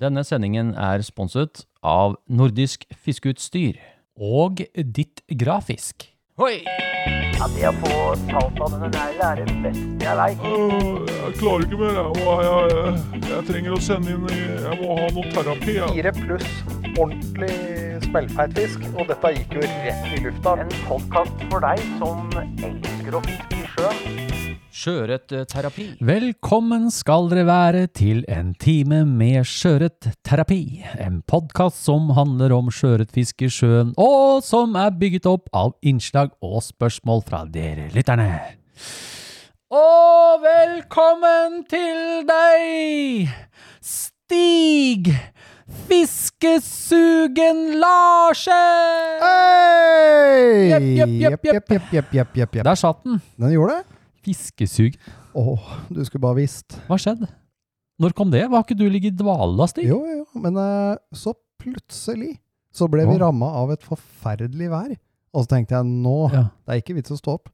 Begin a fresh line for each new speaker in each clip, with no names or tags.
Denne sendingen er sponset av Nordisk Fiskeutstyr.
Og ditt grafisk.
Hoi!
Ja, det å få talt av denne neglen er det beste jeg veit.
Øh, Jeg klarer ikke mer. Jeg, må, jeg, jeg, jeg trenger å sende inn Jeg må ha noe terapi. Jeg.
Fire pluss ordentlig smellfeit fisk, og dette gikk jo rett i lufta.
En podkast for deg som elsker å fiske i sjøen.
Sjøørretterapi.
Velkommen skal dere være til en time med sjøørretterapi. En podkast som handler om sjøørretfiske i sjøen, og som er bygget opp av innslag og spørsmål fra dere lytterne. Og velkommen til deg, Stig Fiskesugen Larsen!
Hei!
Jepp, jepp, jepp, jepp.
jepp, jepp, jepp, jepp, jepp.
Der satt den.
Den gjorde det?
Fiskesug.
Åh, du skulle bare visst.
Hva skjedde? Når kom det? Var ikke du ligget i dvale da, Stig?
Jo, jo, jo. Men eh, så plutselig så ble vi
Åh.
ramma av et forferdelig vær. Og så tenkte jeg nå,
Ja.
det er ikke vits å stå opp.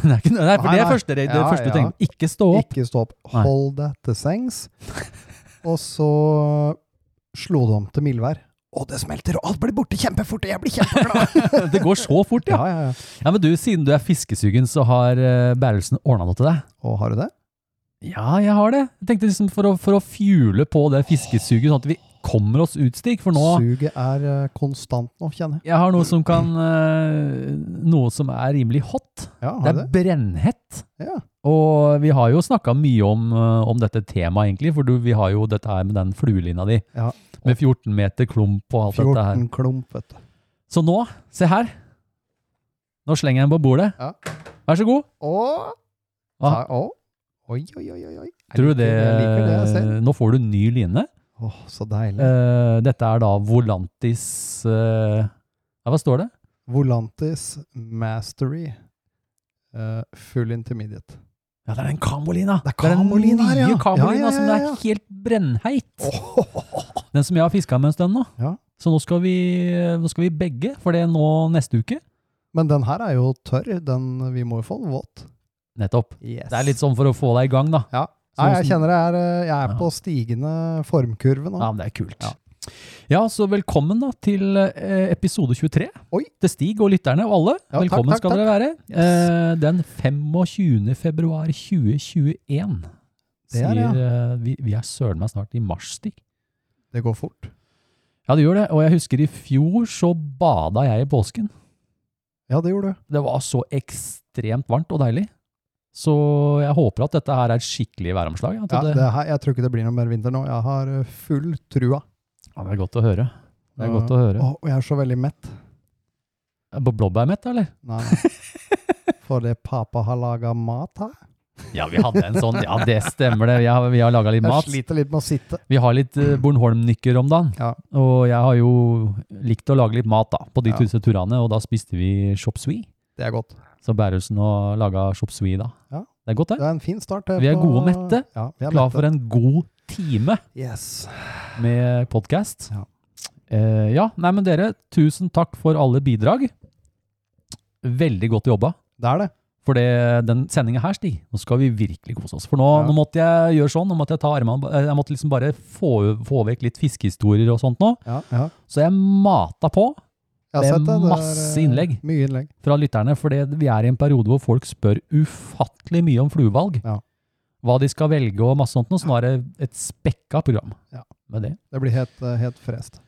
Det er ikke noe, nei, for
Nei,
det er
nei.
første, det, det
Ja,
første du
ja.
tenker. Ikke stå opp.
Ikke stå opp.
Nei.
Hold deg til sengs. og så slo det om til mildvær. Og det smelter, og alt blir borte kjempefort, og jeg blir kjempeglad!
Det går så fort, ja.
ja, ja, ja.
ja. Men du, siden du er fiskesugen, så har uh, Berlesen ordna noe til deg?
Og har du det?
Ja, jeg har det. Jeg tenkte liksom for å, for å fjule på det fiskesuget, sånn at vi kommer oss ut, Stig. For nå
Suget er eh, konstant nå, kjenner jeg.
Jeg har noe som kan eh, Noe som er rimelig hot. Det
Ja, har du
er
det?
brennhett.
Ja.
Og vi har jo snakka mye om, eh, om dette temaet, egentlig. For du, vi har jo dette her med den fluelina di.
Ja.
Med 14 meter klump og alt dette her.
14 klump, vet du.
Så nå, se her. Nå slenger jeg den på bordet.
Ja.
Vær så god.
Åh!
Hva?
Ta- Å. Oi, oi, oi, oi. oi. Jeg
Tror du
liker
det,
Jeg liker det jeg ser.
Nå får du ny line.
Åh, så deilig.
Eh, dette er da Volantis eh, ja, Hva står det?
Volantis Mastery eh, Full Intermediate.
Ja, det er den kamolina.
Det er kamolina her,
den nye
ja.
kamolina
Ja, ja, ja,
som det
ja.
er helt brennheit.
Åh,
Den som jeg har fiska med en stund nå.
Ja.
Så nå skal, vi, nå skal vi begge, for det er nå neste uke.
Men den her er jo tørr. Den, vi må jo få den våt.
Nettopp. Det er litt sånn for å få deg i gang, da.
Ja. Nei, jeg
Sånn som-
kjenner jeg er, eh, jeg er
Ja.
på stigende formkurve nå.
Ja, men det er kult.
Ja.
Ja, så velkommen da til eh, episode 23.
Oi.
Til Stig og lytterne og alle.
Ja, takk,
velkommen
takk,
skal dere være.
Yes.
Eh, den 25. februar 2021
Det er
sier
det, ja.
eh, vi, vi er søren meg snart i mars, Stig.
Det går fort.
Ja, det gjør det. Og jeg husker i fjor så bada jeg i påsken.
Ja, det gjorde du.
Det var så ekstremt varmt og deilig. Så jeg håper at dette her er et skikkelig væromslag. At
Ja,
det,
det her, jeg tror ikke det blir noe mer vinter nå. Jeg har eh, full trua.
Ja, det er godt å høre. Det er godt å høre.
Åh, og jeg er så veldig mett.
Er det Blåbærmett, eller?
Nei, nei. For det pappa har laga mat her.
Ja, vi hadde en sånn. Ja, det stemmer det. Jeg, har- vi har laga litt
Jeg
mat.
sliter litt med å sitte.
Vi har litt eh, Bornholm-nykker om dagen.
Ja.
Og jeg har jo likt å lage litt mat da, på de
Ja.
tusen turene, og da spiste vi chop sui.
Det er godt.
Så Bærelsen og laga chop sui da.
Ja.
Det er godt,
Det
det.
er en fin start. det,
Vi er
på-
gode og mette.
Ja, vi er
Klar
mette.
for en god time
Yes.
med podkast.
Ja.
Eh, ja, nei, men dere, tusen takk for alle bidrag. Veldig godt jobba.
Det er det.
For det, den sendinga her, Stig, nå skal vi virkelig kose oss. For nå,
Ja.
nå måtte jeg gjøre sånn, nå måtte jeg ta armene Jeg måtte liksom bare få, få vekk litt fiskehistorier og sånt nå.
Ja, ja.
Så jeg mata på.
Jeg har
Det er
sett det. Det
masse
eh,
innlegg.
Mye innlegg.
fra lytterne, for det, vi er i en periode hvor folk spør ufattelig mye om fluevalg.
Ja.
Hva de skal velge og masse sånt, noe, så nå er det et spekka program
Ja.
med det.
Det blir helt, eh, helt frest.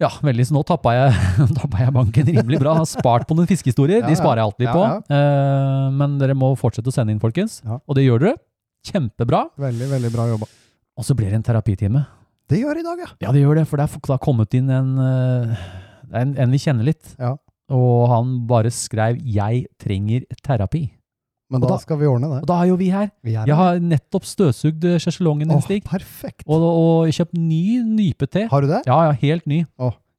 Ja, veldig, så nå tappa jeg, tappa jeg banken rimelig bra. Har spart på noen fiskehistorier,
Ja,
de
ja.
sparer jeg alltid
Ja,
på. Eh, men dere må fortsette å sende inn, folkens.
Ja.
Og det gjør dere. Kjempebra.
Veldig, veldig bra jobba.
Og så blir det en terapitime.
Det gjør i dag, ja.
Ja, det gjør det, for det er- det har kommet inn en, eh, en, en vi kjenner litt.
Ja.
Og han bare skrev 'Jeg trenger terapi'.
Men
Og
da
da-
skal vi ordne
Og
det.
da er jo vi her.
Vi er
Jeg har nettopp støvsugd eh, sjeselongen din,
Åh,
Stig.
perfekt.
Og, og kjøpt ny nypete.
Har du det?
Ja, ja, helt ny.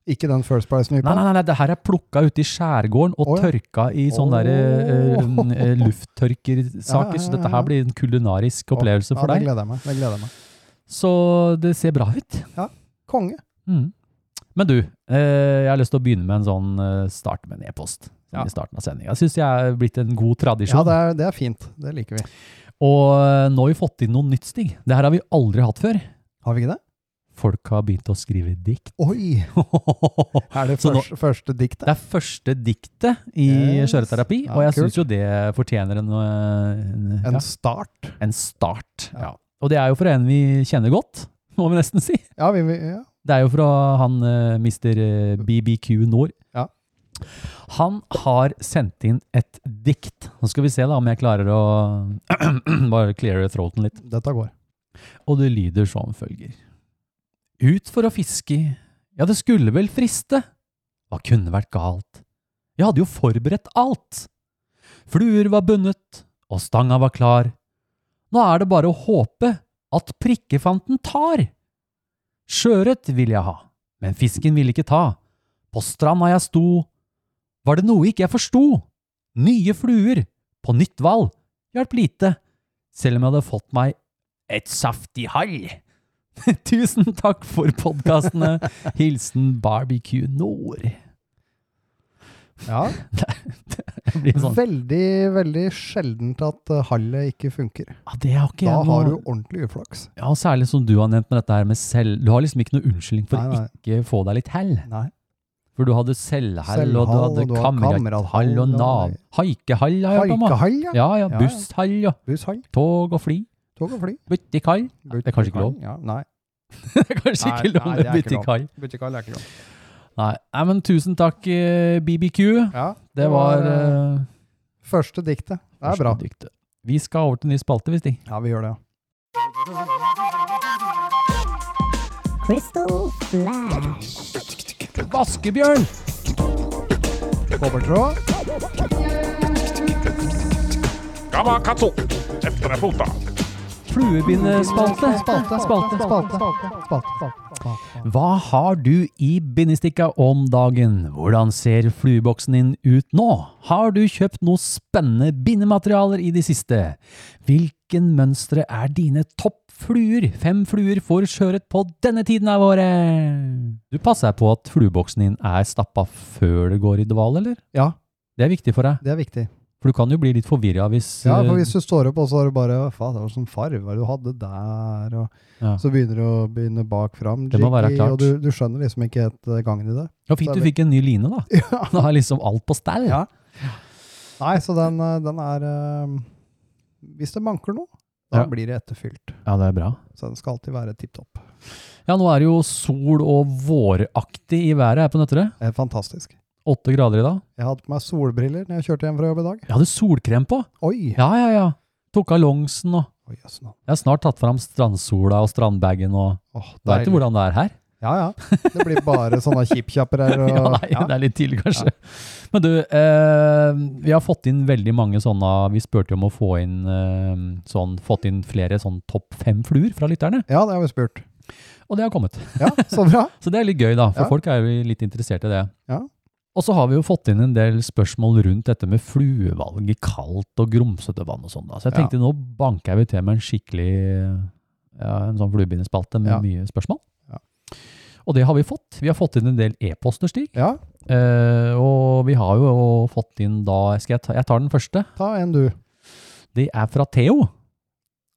Ikke den First Price-nypa?
Nei, nei, nei, nei, det her er plukka ute i skjærgården og
Å, ja.
tørka i sånne
Å.
der, eh, eh, lufttørkersaker.
Ja, ja, ja,
Så dette her
ja.
blir en kulinarisk opplevelse for
ja, Det
deg.
gleder jeg meg. Det gleder jeg meg.
Så det ser bra ut.
Konge.
Mm. Men du, eh, jeg har lyst til å begynne med en sånn eh, start med en e-post. Som
Ja.
i starten av sendinga. Jeg syns jeg er blitt en god
Ja,
tradisjon.
det er, det er fint. Det liker vi.
og eh, nå har vi fått inn noe nytt, Stig. Det her har vi aldri hatt før.
Har vi ikke det?
folk har begynt å skrive dikt.
Oi! Er det
Så nå-
første, første diktet?
Det er første diktet i
Yes.
kjøreterapi,
Ja,
og jeg
kult.
syns jo det fortjener en, eh, en,
En
ja,
start?
en start.
Ja.
Ja. Og det er jo fra en vi kjenner godt, må vi nesten si.
Ja, vi, vi, ja.
Det er jo fra han uh, Mr. eh, BBQ Nord.
Ja.
Han har sendt inn et dikt. Nå skal vi se da om jeg klarer å bare cleare throaten litt.
Dette går.
Og det lyder som følger. Ut for å fiske, ja det skulle vel friste. Hva kunne vært galt? Jeg hadde jo forberedt alt. Fluer var bundet, og stanga var klar. Nå er det bare å håpe at prikkefanten tar. Sjøørret vil jeg ha, men fisken vil ikke ta. På stranda jeg sto, var det noe ikke jeg forsto. Nye fluer, på nytt hval, hjalp lite, selv om jeg hadde fått meg et saftig hall. Tusen takk for podkastene. Hilsen Barbecue Nord.
Ja.
Det blir sånn.
Veldig, veldig sjeldent at eh, hallet ikke funker.
Ja, «Ah, det har ikke
Da
jeg
har du
noe
ordentlig uflaks.
Ja, Særlig som du har nevnt med dette her med selv... Du har liksom ikke noe unnskyldning for
Nei, nei.
ikke få deg litt hell.
Nei.
For du hadde selvhall, og du
Selvhall,
hadde
og du har
kamerathall og
kamerathall,
nav...
og-
Haikehall har jeg hørt om. da.
Haikehall, ja.
Ja, ja.
Ja, ja.
Busshall og
Bushall.
tog og fly.
Tog og fly.
Butikkhall.
Det
er kanskje ikke lov.
Ja, nei.
Det er kanskje
Nei,
ikke lov
nei,
med
det er ikke lov.
butikkhall.
Butikkhall er ikke lov.
Nei. nei, men tusen takk, eh, BBQ.
Ja,
Det var eh,
Første diktet. Det er bra.
Første diktet. Vi skal over til ny spalte, hvis de.
Ja, vi gjør det, ja.
Crystal Flash.
Vaskebjørn!
Kobbertråd.
Gamakatsu! Etter punta.
Fluebindespalte.
Spalte, spalte, spalte. spalte, spalte.
Hva har du i bindestikka om dagen? Hvordan ser flueboksen din ut nå? Har du kjøpt noe spennende bindematerialer i det siste? Hvilken mønstre er dine topp fluer? Fem fluer får skjøret på denne tiden av året! Du passer deg på at flueboksen din er stappa før det går i dvale, eller?
Ja,
Det er viktig for deg,
det er viktig.
for du kan jo bli litt forvirra hvis
Ja, for
eh,
hvis du står opp, og så er det bare Faen, det var sånn farver du hadde der, og
Ja.
så begynner du å begynne bak fram.
Det må være
jiggy,
klart.
Og du, du skjønner liksom ikke helt eh, gangen i det.
Ja, fint du fikk en ny line, da.
Ja.
Da er liksom alt på stell.
Ja. Nei, så den, eh, den er eh, Hvis det manker noe, da
Ja.
blir det etterfylt.
Ja, det er bra.
Så den skal alltid være tipp topp.
Ja, nå er det jo sol og våraktig i været her på Nøtterøy.
Eh, Fantastisk.
Åtte grader i dag.
Jeg hadde på meg solbriller når jeg kjørte hjem fra jobb i dag.
Jeg hadde solkrem på!
Oi!
Ja, ja, ja. Tok av longsen og
Oi, jøss, nå.
Jeg har snart tatt fram strandsola og strandbagen og
Åh,
Veit du
deilig.
hvordan det er her?
Ja, ja. Det blir bare sånne kjippkjapper her. Og,
Ja, nei, det er litt tidlig, kanskje. Men du, eh, vi har fått inn veldig mange sånne Vi spurte jo om å få inn eh, sånn Fått inn flere sånn topp fem fluer fra lytterne,
ja, det har vi spurt.
og det har kommet.
Ja, så bra.
Så det er litt gøy, da, for
Ja.
folk er jo litt interessert i det.
Ja.
Og så har vi jo fått inn en del spørsmål rundt dette med fluevalg i kaldt og grumsete vann og sånn. da. Så jeg
Ja.
tenkte nå banker jeg vi til med en skikkelig ja, en sånn fluebindespalte med
Ja.
mye spørsmål.
Ja.
Og det har vi fått. Vi har fått inn en del e-poster, Stig.
Ja,
Eh, og vi har jo fått inn da skal jeg, ta, jeg tar den første.
ta en du.
Det er fra Theo.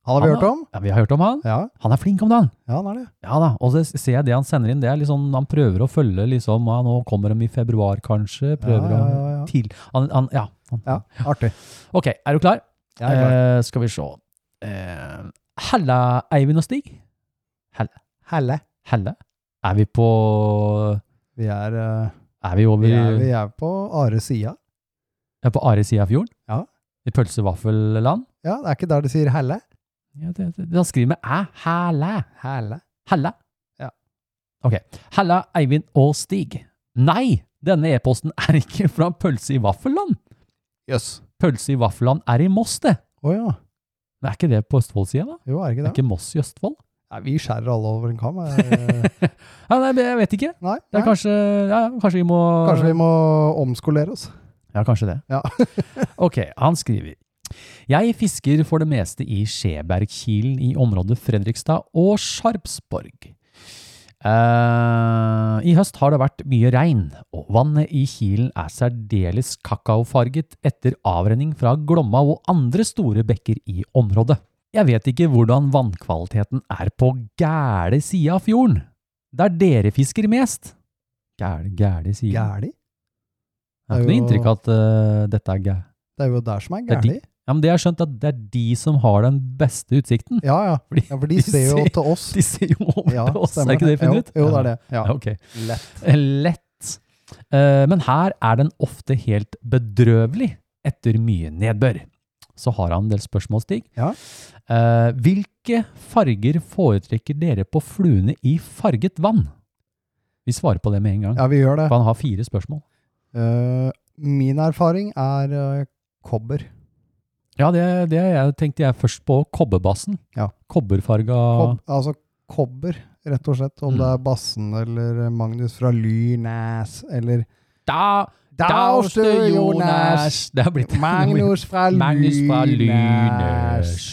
Han har vi
Han
hørt om?
Ja, vi har hørt om han.
Ja,
Han er flink om dagen.
ja, han er det.
Ja da, og så ser jeg det han sender inn, det er liksom, han prøver å følge liksom, ja, nå kommer de i februar kanskje, prøver
ja,
han
ja, ja.
til. Han, han, ja.
Ja, artig.
Ok, er du klar?
Jeg er klar.
Eh, skal vi se. Eh, Helle, Eivind og Stig? Helle.
Helle.
Helle? Er vi på,
Vi er, eh,
er vi over,
vi er,
vi
vi er på Are sida.
er på Are siden av fjorden?
Ja.
I pølsevaffelland?
Ja, det er ikke der de sier helle.
Ja, det, det, han skriver med æ, helle.
Helle.
Helle?
Ja.
Ok. Helle, Eivind og Stig. Nei, denne e-posten er ikke fra Pølse i Vaffelland.
Jøss.
Pølse i Vaffelland er i Moss, det.
Å ja.
Men er ikke det på Østfold-sida, da?
Jo, er
Det
det ikke
er
det?
ikke Moss i Østfold?
Nei, vi skjærer alle over en kam. eh.
Ja, nei, jeg vet ikke.
Nei,
Det
nei.
er kanskje, ja, kanskje vi må
Kanskje vi må omskolere oss.
Ja, kanskje det.
Ja.
ok, han skriver. Jeg fisker for det meste i Skjebergkilen i området Fredrikstad og Sjarpsborg. Eh, I høst har det vært mye regn, og vannet i kilen er særdeles kakaofarget etter avrenning fra Glomma og andre store bekker i området. Jeg vet ikke hvordan vannkvaliteten er på gæle sida av fjorden, der dere fisker mest. Gæli, gæli, sier han.
Gæli?
Jeg har ikke noe
det er
inntrykk av at eh, dette er gæ...
Det er jo der som er
Det er
gæli.
Ja, men det har jeg skjønt at det er de som har den beste utsikten.
Ja, ja.
Fordi
ja, for de ser jo til oss.
De ser jo over
Ja,
til oss, er
stemmer
ikke det vi finner ut?
Jo, jo, det er det. Ja.
Ja, ok.
Lett.
Lett. Eh, Men her er den ofte helt bedrøvelig etter mye nedbør. Så har han en del spørsmål, Stig.
Ja.
Eh, Hvilke farger foretrekker dere på fluene i farget vann? Vi svarer på det med en gang,
Ja, vi gjør det.
for han har fire spørsmål.
Eh, min erfaring er eh, kobber.
Ja, det, det jeg tenkte jeg først på kobberbassen.
Ja.
Kobberfarga
Kob, altså kobber, rett og slett. Om
Mm.
det er Bassen eller eh, Magnus fra Lynæs eller
Da,
Dauste Jonas!
Det har blitt
Magnus fra
Magnus fra
Lynæs!
Lynæs.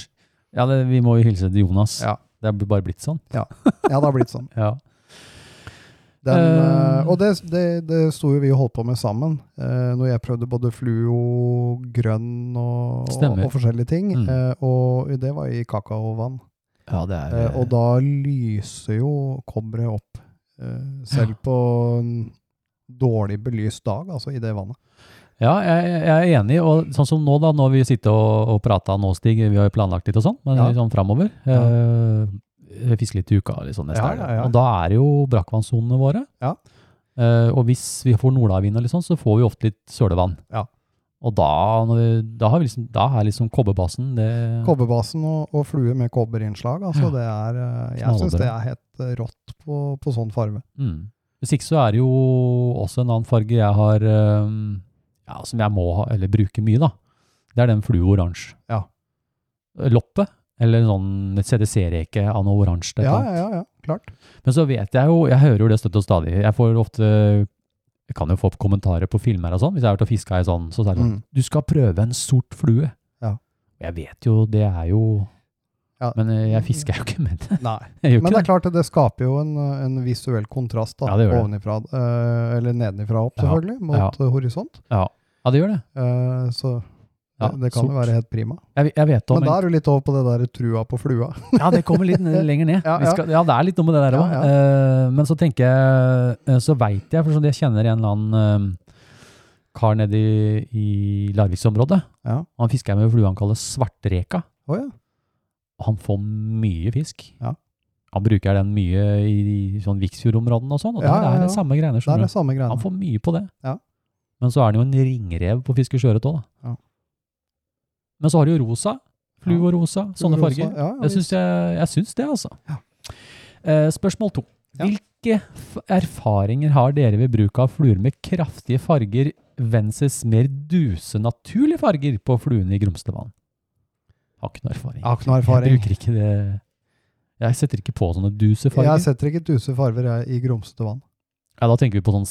Ja, det, vi må jo hilse til Jonas.
Ja.
Det har bare blitt sånn.
Ja, det har blitt sånn.
Ja.
Den,
Eh.
eh, og det, det, det sto jo vi og holdt på med sammen, eh, når jeg prøvde både fluo, grønn og, og,
Stemmer.
og forskjellige ting.
Mm.
eh, og det var i kakaovann.
Ja, det er
Eh, og da lyser jo kobberet opp, eh, selv på en dårlig belyst dag, altså i det vannet.
Ja, jeg, jeg er enig. Og sånn som nå, da, når vi sitter og, og prater nå, Stig, vi har jo planlagt litt og sånn, men
Ja.
litt sånn framover. Eh, fiske litt i uka eller sånn neste
Ja,
helg, da.
ja, ja.
Og da er det jo brakkvannssonene våre.
Ja.
Eh, og hvis vi får nordavind eller sånn, så får vi ofte litt sølevann.
Ja.
Og da, når vi, da, har vi liksom, da er liksom kobberbassen det
Kobberbasen og, og flue med kobberinnslag, altså det er eh, Jeg syns
Knallbra.
det er helt eh, rått på, på sånn farge.
Mm. Hvis ikke så er det jo også en annen farge jeg har, ehm, ja, som jeg må ha, eller bruke mye da. Det er den fluoransje.
Ja.
Loppe, eller sånn et CDC-reke av noe oransje. et
Ja,
eller
ja,
annet.
ja, ja, klart.
Men så vet jeg jo, jeg hører jo det støtt og stadig. Jeg får ofte, jeg kan jo få opp kommentarer på filmer og sånn, hvis jeg har vært og fisket i sånn, så er det sånn,
Mm.
du skal prøve en sort flue.
Ja.
Jeg vet jo, det er jo,
Ja.
men eh, jeg fisker jo ikke med det.
Nei.
Jeg gjør
Men
ikke
det er klart, det- det skaper jo en, eh, en visuell kontrast da,
Ja, det gjør det.
ovenifra, eh, eller nedenifra opp,
Ja,
selvfølgelig, mot
ja.
eh, horisont.
Ja, det gjør det.
Eh, så
Ja,
det, det kan jo
sort.
være helt prima.
Jeg, jeg vet om en-
Men da er du litt over på det der trua på flua.
Ja, det kommer litt ned, lenger ned.
Ja,
Vi
ja.
skal, ja, det er litt noe med det der
Ja,
òg. men så tenker jeg, eh, så veit jeg, for sånn jeg kjenner en eller annen eh, kar nede i, i Larviksområdet.
Ja.
Han fisker med flue han kaller svartreka.
Å ja.
Og han får mye fisk.
Ja.
Han bruker den mye i, i sånn Viksfjordområdene og sånn, og
Ja,
der
ja,
er
ja.
det samme greiene.
Det er
skjønner
det
du.
samme
Han
greiene.
får mye på det.
Ja.
Men så er han jo en ringrev på fiske sjøørret òg, da.
Ja.
Men så har du jo rosa. Flue og rosa. Sånne
Rosa.
farger.
Ja, ja,
Jeg syns, jeg, jeg syns det, altså.
Ja.
Eh, spørsmål to.
Ja.
Hvilke f erfaringer har dere ved bruk av fluer med kraftige farger venses mer duse naturlige farger på fluene i Grumstevann? Har ikke noe erfaring.
Jeg har ikke noe
Jeg
erfaring.
bruker ikke det. Jeg setter ikke på sånne duse farger.
Jeg setter ikke duse farver jeg, i grumsete vann.
ja, da tenker vi på sånn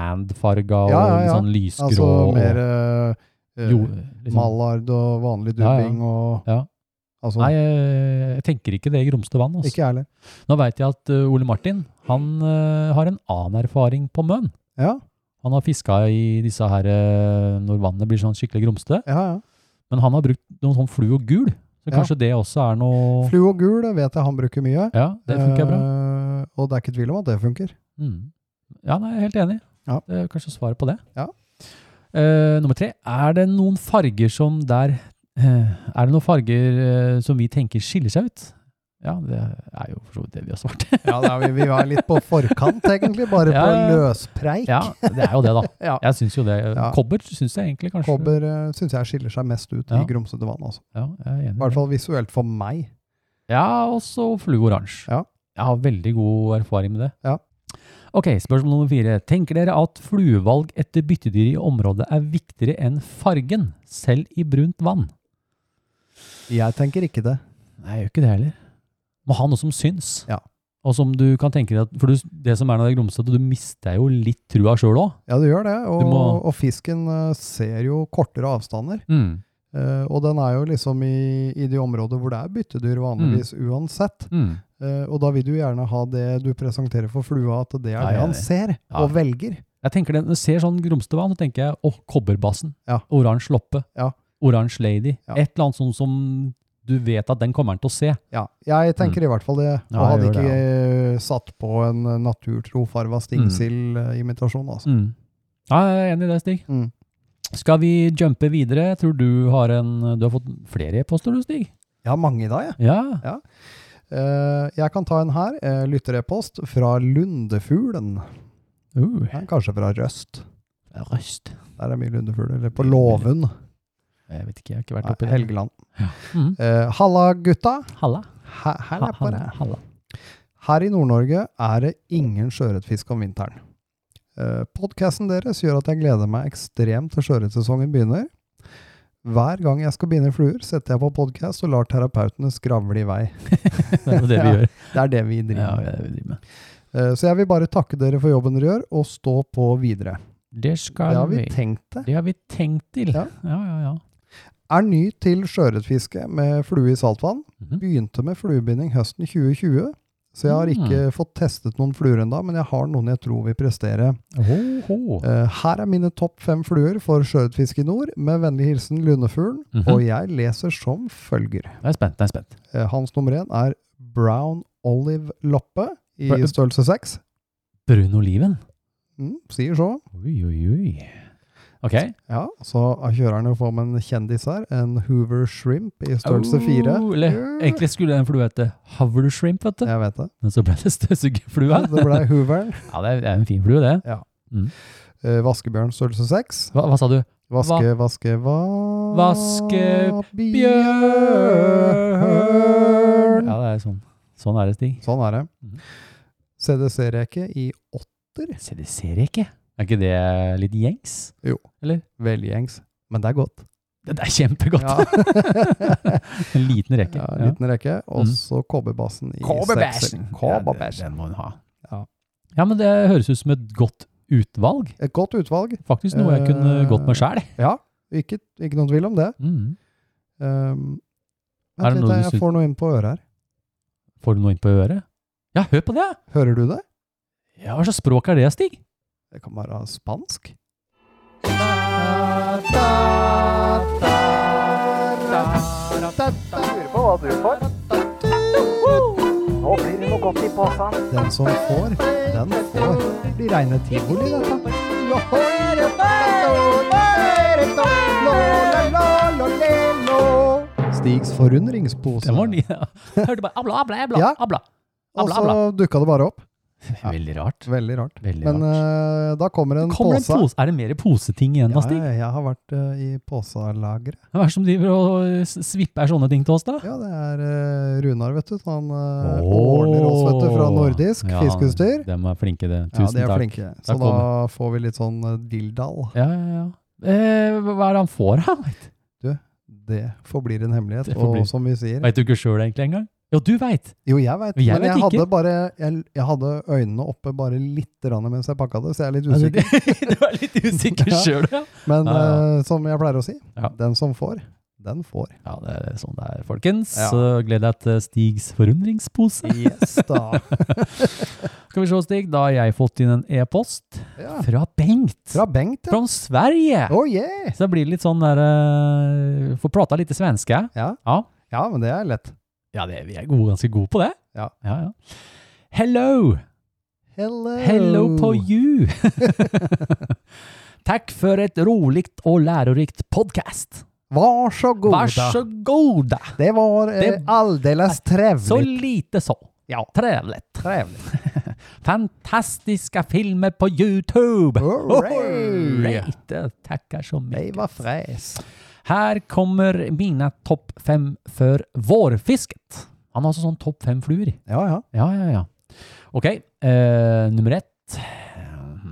sandfarga og
Ja, ja, ja.
litt sånn lysgrå.
Altså mer
og,
eh, eh,
jo, liksom.
mallard og vanlig
Ja, ja.
dubbing og
Ja.
altså,
Nei, jeg, jeg tenker ikke det i Grumstevann. Altså.
Ikke jeg heller.
Nå veit jeg at eh, Ole Martin han eh, har en annen erfaring på Møn.
Ja,
Han har fiska i disse her eh, når vannet blir sånn skikkelig grumsete.
ja, ja.
Men han har brukt noen sånn fluo gul. Så
Ja.
kanskje det også er noe
Flu og gul det vet jeg han bruker mye.
Ja, det funker bra.
Eh, og det er ikke tvil om at det funker.
Mm. Ja, nei, jeg er helt enig.
Eh. Ja.
Det er kanskje svaret på det.
Ja.
Eh, nummer tre. Er det noen farger som der eh, Er det noen farger eh, som vi tenker skiller seg ut? Ja, det er jo for så vidt det vi har svart.
Ja, det er, vi, vi er litt på forkant, egentlig. Bare
Ja, ja,
på
ja.
løspreik.
ja, det er jo det, da.
Ja.
Jeg syns jo det.
Ja.
Kobber syns jeg egentlig kanskje
Kobber uh, syns jeg skiller seg mest ut
Ja.
i grumsete vann. Altså.
Ja, jeg er enig.
I hvert fall visuelt for meg.
Ja, og så flue oransje.
Ja.
Jeg har veldig god erfaring med det.
Ja.
Ok, spørsmål nummer fire. Tenker dere at fluevalg etter byttedyr i området er viktigere enn fargen, selv i brunt vann?
Jeg tenker ikke det.
Nei, jeg gjør ikke det heller. Må ha noe som syns.
Ja.
Og som du kan tenke deg, at- for du, det som er når det er grumsete, du mister jo litt trua sjøl òg.
Ja, det gjør det. Og,
Du må-
og fisken eh, ser jo kortere avstander.
Mm.
Eh, og den er jo liksom i, i de områder hvor det er byttedyr vanligvis uansett.
Mm.
Eh, og da vil du gjerne ha det du presenterer for flua, at det er
Ja,
det
ja,
han
ja.
ser
Ja.
og velger.
Jeg tenker det, Når jeg ser sånn grumsete vann, så tenker jeg åh, kobberbassen.
Ja.
Oransje loppe.
Ja.
Oransje lady.
Ja.
Et eller annet sånt som du du vet at den kommer han til å se.
Ja, jeg tenker i hvert fall det. Og
Mm. Ja, jeg gjør
hadde ikke
det,
eh, satt på en eh, naturtrofarva stingsild-imitasjon, altså.
Mm. Ja, jeg er enig i det, Stig.
Mm.
Skal vi jumpe videre? Jeg tror du har en Du har fått flere e-poster, du, Stig?
Jeg har mange i dag, jeg.
Ja.
Eh, jeg kan ta en her. eh, lytterepost fra Lundefuglen.
Uh.
Ja, kanskje fra Røst.
Røst.
Der er det mye lundefugl. Eller på Låven.
Jeg vet ikke, jeg har ikke vært
Nei,
oppi det.
Helgeland.
Mm.
Eh, Halla, gutta.
Halla.
Hæ- Her, er
Ha-
bare.
Halla.
Her i Nord-Norge er det ingen sjøørretfisk om vinteren. Eh, Podcasten deres gjør at jeg gleder meg ekstremt til sjøørretsesongen begynner. Hver gang jeg skal binde fluer, setter jeg på podkast og lar terapeutene skravle i vei.
Det er jo det vi
Ja.
gjør.
Det er det vi
Ja, det
driver med.
er det vi driver med.
Eh, Så jeg vil bare takke dere for jobben dere gjør, og stå på videre.
Det
Det
skal
har vi
vi.
tenkt det.
Det har vi tenkt til.
Ja.
Ja, ja, ja.
Er ny til sjøørretfiske med flue i saltvann.
Mhm.
Begynte med fluebinding høsten 2020, så jeg
Ah.
har ikke fått testet noen fluer ennå, men jeg har noen jeg tror vil prestere.
Ho, ho.
Eh, her er mine topp fem fluer for sjøørretfiske i nord, med vennlig hilsen Lundefuglen,
Mhm.
og jeg leser som følger.
Jeg er spent, jeg er spent.
Eh, hans nummer én er brown olive loppe i
Bra-
størrelse seks.
Brun oliven.
Mm, sier så.
Oi, oi, oi. Ok.
Ja, så kjører han jo på med en kjendis her, en Hoover shrimp i størrelse fire.
Oh, eller, egentlig skulle den flua hete havleshrimp, vet du.
Jeg vet det.
Men så ble det støvsugerflua.
Det ble Hooveren.
Ja, det er, det er en fin flue, det.
Eh, vaskebjørn størrelse seks.
Hva, hva sa du?
Vaske, vaske, va...
Bjørn! Ja, det er sånn. Sånn er det, Stig.
Sånn er det.
Mhm.
CDC-reke i åtter.
Se, det ser jeg ikke. Er ikke det litt gjengs?
Velgjengs. Men det er godt.
Det det er kjempegodt.
Ja.
en liten reke.
ja, en liten reke. Og
Mhm.
så kobberbassen i sekser.
Kobberbæsjen.
Kobberbæsjen.
Den må hun ha.
Ja.
Ja, men det høres ut som et godt utvalg.
Et godt utvalg.
Faktisk noe jeg kunne
Eh,
gått med sjæl.
Ja, ikke, ikke noen tvil om det.
Mm.
Um,
Er det
vent
noe
litt,
du
jeg
syn-
får noe inn på øret her.
Får du noe inn på øret? Ja, hør på det!
Hører du det?
Ja, Hva slags språk er det, Stig?
Det kan være spansk.
Lurer på hva du får.
Nå blir det noe godt i posen.
Den som får, den får. Det blir reine tivoli, dette. Stigs forundringspose.
Den var ny. ja. Hørte bare «Ah, abla, abla, abla.
Ja.
abla.
Og
Abla,
så
abla.
dukka det bare opp.
Veldig rart.
Veldig rart.
Veldig
Men
rart.
eh, da kommer en
Kommer det
pose.
en pose? Er det mer poseting igjen da,
Ja,
Stig?
ja, jeg har vært eh, i poselageret.
Hva er det som driver og eh, s- svipper sånne ting til oss, da?
Ja, det er eh, Runar, vet du. så Han eh,
Åh.
ordner oss, vet du, fra nordisk
Ja,
fiskeutstyr.
De er flinke, det.
Ja,
Tusen
de er
takk.
flinke. Så
Takk,
da får vi litt sånn eh, dilldall.
Ja, ja, ja. Eh, hva hva er det han får, da? Vet,
Det forblir en hemmelighet.
Det forblir-
Og som vi sier
vet du ikke sjøl egentlig engang? Jo, du veit!
Jo, jeg veit,
Jeg
men jeg
vet ikke.
hadde, bare, jeg, jeg hadde øynene oppe bare litt rann mens jeg pakka det, så jeg er litt
Altså,
usikker.
du er litt usikker
Ja.
sjøl, ja.
Men
Ja, ja.
eh, som jeg pleier å si,
Ja.
den som får, den får.
Ja, det er sånn det er, folkens.
Ja.
Så gleder jeg til Stigs forundringspose.
Yes, da.
Skal vi se, Stig, da har jeg fått inn en e-post
Ja.
fra Bengt.
Fra Bengt, ja.
Fra Sverige!
Oh, yeah.
Så det blir litt sånn der eh, Får prata litt svenske.
ja.
Ja.
Ja, men det er lett.
Ja, det, vi er gode, ganske gode på det.
Ja.
ja, ja. Hello!
Hello.
Hello på you! Takk for et roligt og lærerikt podcast.
Vær så god.
Vær så goda!
Det var eh,
Det-
alldeles
Så
trevligt.
lite så.
Ja.
Trevligt.
Trevligt.
Fantastiska filmer på Youtube!
Hooray!
Jag Tackar så
Det
mycket.
var fräs.
Här kommer mina topp fem för vårfisket. Han har alltså sån topp fem flur.
Ja, ja.
Ja, ja, ja. Ok, eh, nummer ett.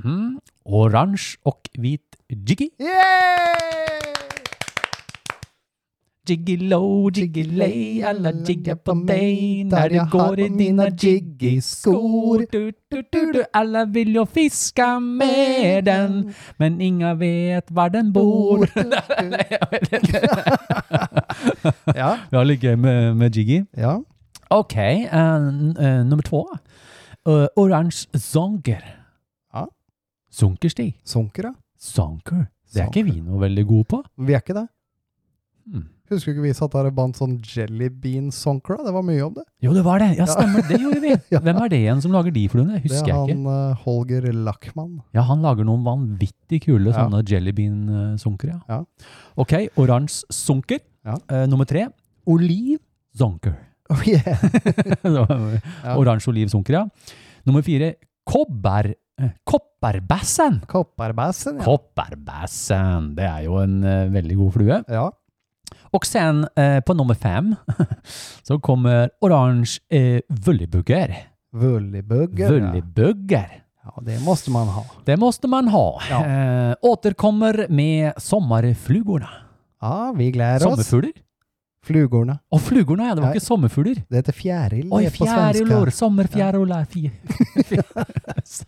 Mhm. Oransje og hvit jiggy. Jiggy low, jiggy lay, alla jigger på deg når du går i dina jiggy-skor. Du, du, du, du, alla vill ju fiska med den, men inga vet var den bor. Nei, jeg vet ikke.
Ja,
Vi har litt gøy med, med jiggy.
ja.
Ok, eh, n- eh, nummer två. Uh, Orange zonker.
Ja.
Zonkerstig.
Sunker, ja.
Zonker. Det er ikke
Zonker.
vi noe veldig gode på.
Vi er ikke det.
Hmm.
Husker ikke vi satt der og bandt sånn Jelly Bean Sonkra? Det var mye om det.
Jo, det var det! Ja, stemmer, det gjorde vi! Hvem er det igjen som lager de fluene? Husker
det er
jeg ikke.
han eh, Holger Lackmann.
Ja, han lager noen vanvittig kule
Ja.
sånne jellybean-sunker, ja.
Ja.
Ok, oransje sunker.
Ja.
Eh, nummer tre, oliv sunker.
Oh, yeah. Ja.
Oransje oliv sunker, ja. Nummer fire, kobber, eh, kopperbassen.
Kopperbassen, ja.
Kopperbassen, det er jo en eh, veldig god flue.
ja.
Og sen eh, på nummer fem, så kommer oransje eh, vullibugger.
Vullibugger. Ja.
Vullibugger.
ja, det måste man ha.
Det måste man ha.
Ja.
Eh, återkommer med sommarflugorna.
Ja, vi gleder oss.
Sommerfugler?
Flugorna.
Sånn? Å, flugorna, ja. Det var
Nei.
ikke sommerfugler.
Det heter fjæril
Oi,
det på
fjärilar.
svenska.
Sommerfjärilar. Fie-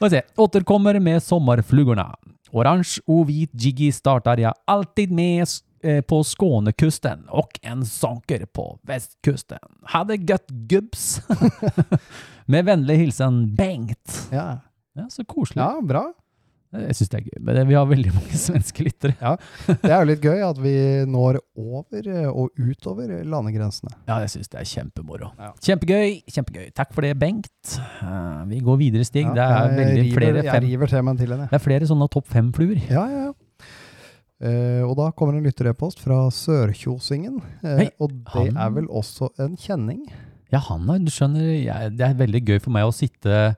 Får se. Återkommer med sommarflugorna. Orange och vit jiggy startar jag alltid med s- eh, på Skånekusten och en sonker på västkusten. Hade gött gubbs! med vänlig hilsen Bengt.
Ja.
Ja, så koselig.
ja, bra.
Jeg syns det er gøy, men det- vi har veldig mange svenske lyttere. Ja.
Det er jo litt gøy at vi når over eh, og utover landegrensene.
jeg syns det er kjempemoro.
Ja.
Kjempegøy, kjempegøy. Takk for det, Bengt. Eh, vi går videre, Stig. det
Ja,
er
jeg
veldig
river-
flere
Jeg
fem.
river til meg en til henne.
Det er flere sånne topp fem-fluer.
Ja, ja, ja. Eh, og da kommer en lytterepost fra Sørkjosingen. eh,
Hei,
og det
han-
er vel også en kjenning?
Ja, Hanna, du skjønner, jeg, det er veldig gøy for meg å sitte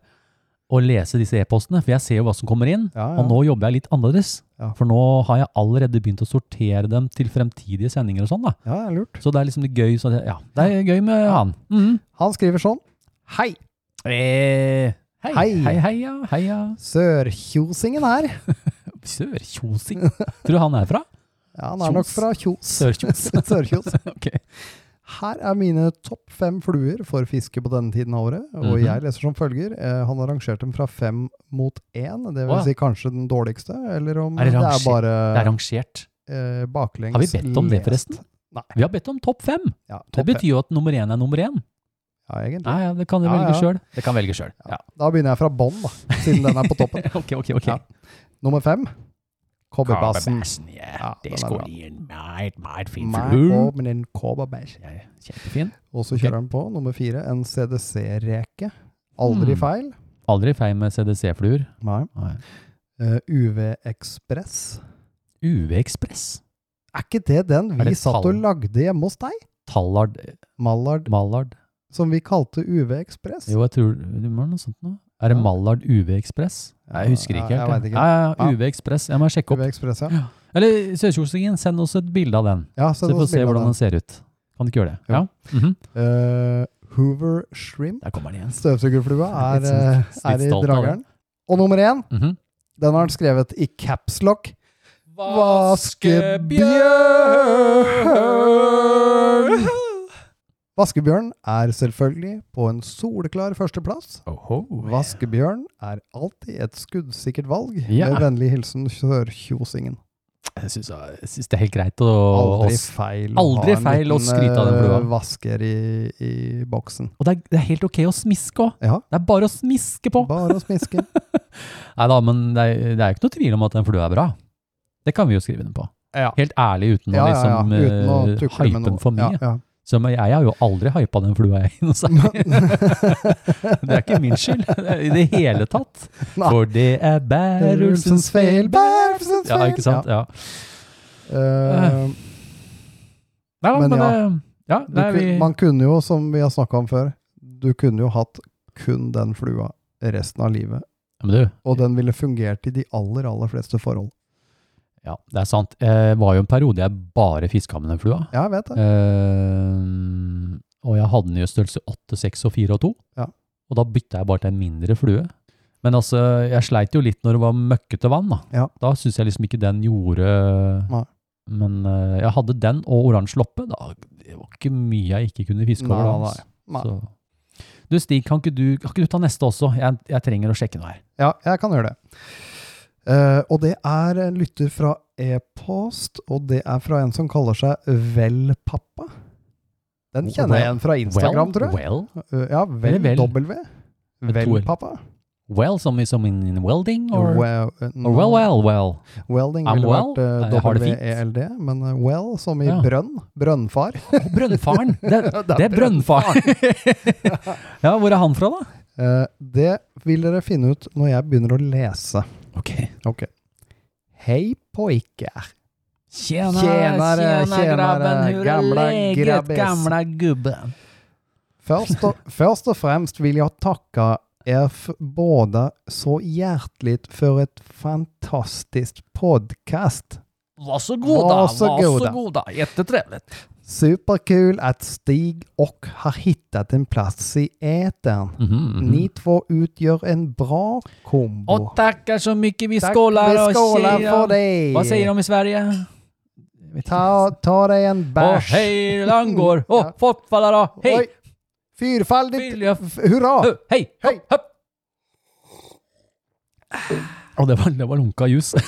og lese disse e-postene, for jeg ser jo hva som kommer inn.
Ja, ja.
Og nå jobber jeg litt annerledes,
Ja.
for nå har jeg allerede begynt å sortere dem til fremtidige sendinger og sånn. da.
Ja, det er lurt.
Så det er liksom litt gøy. Så det, ja, det er gøy med han. Mhm.
Han skriver sånn. Hei!
Eh, hei, hei,
Hei.
hei, ja, hei, ja.
Sørkjosingen her.
Sørkjosing? Tror du han er fra?
Ja, han er nok
Kjos.
fra Kjos.
Sørkjos.
Sørkjos.
ok.
Her er mine topp fem fluer for fiske på denne tiden av året. Og
Mhm.
jeg leser som følger. Eh, han har rangert dem fra fem mot én. Det vil
Å, ja.
si kanskje den dårligste, eller om
Er
det
det
er,
ranger- Det er
bare
rangert.
eh, baklengs
Har vi bedt om det,
lest.
forresten?
Nei.
Vi har bedt om topp fem.
Ja,
Det
topp fem.
betyr jo at nummer én er nummer én.
Ja, egentlig.
Nei, ja, det kan du
Ja,
velge
ja.
sjøl. Det kan velge sjøl. Ja.
Da begynner jeg fra bånn, da, siden den er på toppen.
Ok, ok, ok.
Ja. Nummer fem, kobberbassen.
Kobberbassen, Ja,
Ja,
det
den er
skulle
bra.
gi en meget, meget fin
Meg
flue.
og med den kobberbass.
Ja, ja, Kjempefin.
Og så
Ok.
kjører han på nummer fire, en CDC-reke. Aldri
Hmm.
feil.
Aldri feil med CDC-fluer.
Nei.
Nei.
Eh, UV-ekspress.
UV-ekspress.
Er ikke det den
Er
vi
det
satt
tall?
og lagde hjemme hos deg?
Tallard
Mallard,
Mallard
som vi kalte UV-ekspress.
Jo, jeg tror det var noe sånt nå. Er det
Ja.
Mallard UV-ekspress?
Ja,
Jeg husker ikke
jeg
helt.
vet ikke.
Ja, ja,
Ja.
UV-ekspress. Jeg må sjekke opp.
UV-ekspress, ja.
Eller Sørkjosingen, send oss et bilde av den.
ja
Så vi får se hvordan den
den.
ser ut. Kan du ikke gjøre det?
Jo.
Ja. Mhm.
Eh, Hoover Shrimp.
Der kommer den igjen.
Støvsugerflua
Jeg er
er,
litt
eh,
sånn- litt
er i
stolt av
drageren. Og nummer én,
Mhm.
den har han skrevet i caps lock.
Vaskebjørn!
Vaskebjørn er selvfølgelig på en soleklar førsteplass.
Oho.
Vaskebjørn er alltid et skuddsikkert valg.
Ja.
Med vennlig hilsen Sørkjosingen.
Jeg syns jeg syns det er helt greit å
Aldri
å-
feil,
aldri feil å skryte av den flua.
eh, vasker i, i boksen.
Og det er, det er helt ok å smiske òg.
Ja.
Det er bare å smiske på.
Bare å smiske.
Nei da, men det er, det er ikke noe tvil om at den flua er bra. Det kan vi jo skrive den på.
Ja.
Helt ærlig, uten
Ja,
å
ja, ja.
liksom
Uten å
eh,
tukle
hype
med
den
noe.
for mye.
Ja, ja.
Så men jeg har jo aldri hypa den flua jeg noe særlig. det er ikke min skyld i det hele tatt.
Nei.
For det er Bær Ulfsens feil.
Bærulfsens
Ja, ikke sant? Ja.
Eh,
Nei, da,
Men
men,
ja.
eh, ja,
du
nei,
kun,
vi,
man kunne jo, som vi har snakka om før, du kunne jo hatt kun den flua resten av livet.
Ja, men du,
Og den ville fungert i de aller, aller fleste forhold.
ja, det er sant. Eh, Det var jo en periode jeg bare fiska med den flua.
Ja, jeg vet det.
Eh, og jeg hadde den i størrelse 8, 6 og 4 og 2.
Ja.
Og da bytta jeg bare til en mindre flue. Men altså, jeg sleit jo litt når det var møkkete vann. Da,
Ja.
da syns jeg liksom ikke den gjorde
Nei.
Men eh, jeg hadde den og oransje loppe. Da, det var ikke mye jeg ikke kunne fiske
Nei,
over. da,
nei,
altså.
nei.
Så. Du Stig, kan ikke du, kan ikke du ta neste også? Jeg, jeg trenger å sjekke noe her.
Ja, jeg kan gjøre det. Eh, og det er en lytter fra e-post, og det er fra en som kaller seg Velpappa. Den kjenner jeg igjen fra Instagram,
well,
tror jeg.
Well,
Eh, Ja,
Eller
Vel
Vel.
W.
to L.
Velpappa.
Well, som i som in welding? Or, well,
Well, eh,
or well, well, well.
Welding
I'm
ville
well.
vært eh,
Jeg har det fint.
W-E-L-D, men eh, well som i
Ja.
brønn. Brønnfar.
Å, brønnfaren! Det, det er brønnfaren! ja, hvor er han fra, da?
Eh, det vil dere finne ut når jeg begynner å lese.
Ok.
Ok. Hei poike.
Tjenere,
Tjenere, tjenere, gamle grabbes.
gubbe.
Først og, først og fremst vil jeg takke er både så hjertelig for et fantastisk podkast.
Vær så
god, da, Vær så vær så god, da.
da. Jättetrevlig.
Superkul at Stig och har hittat en plats i etern.
Mhm, Mm.
Ni två utgör en bra kombo.
Og takker så mye. Vi
Tack,
skåler
vi skålar
og sier
för dig.
Hva sier de i Sverige?
Ta, ta dig en
Å,
bärs.
hej langor! Å,
Ja.
fortfaller da! Hej!
Oj, Fyrfaldigt
Vilja-
f- hurra!
Hø, Hei! Hei! Hopp! Og det var, det var lunka jus.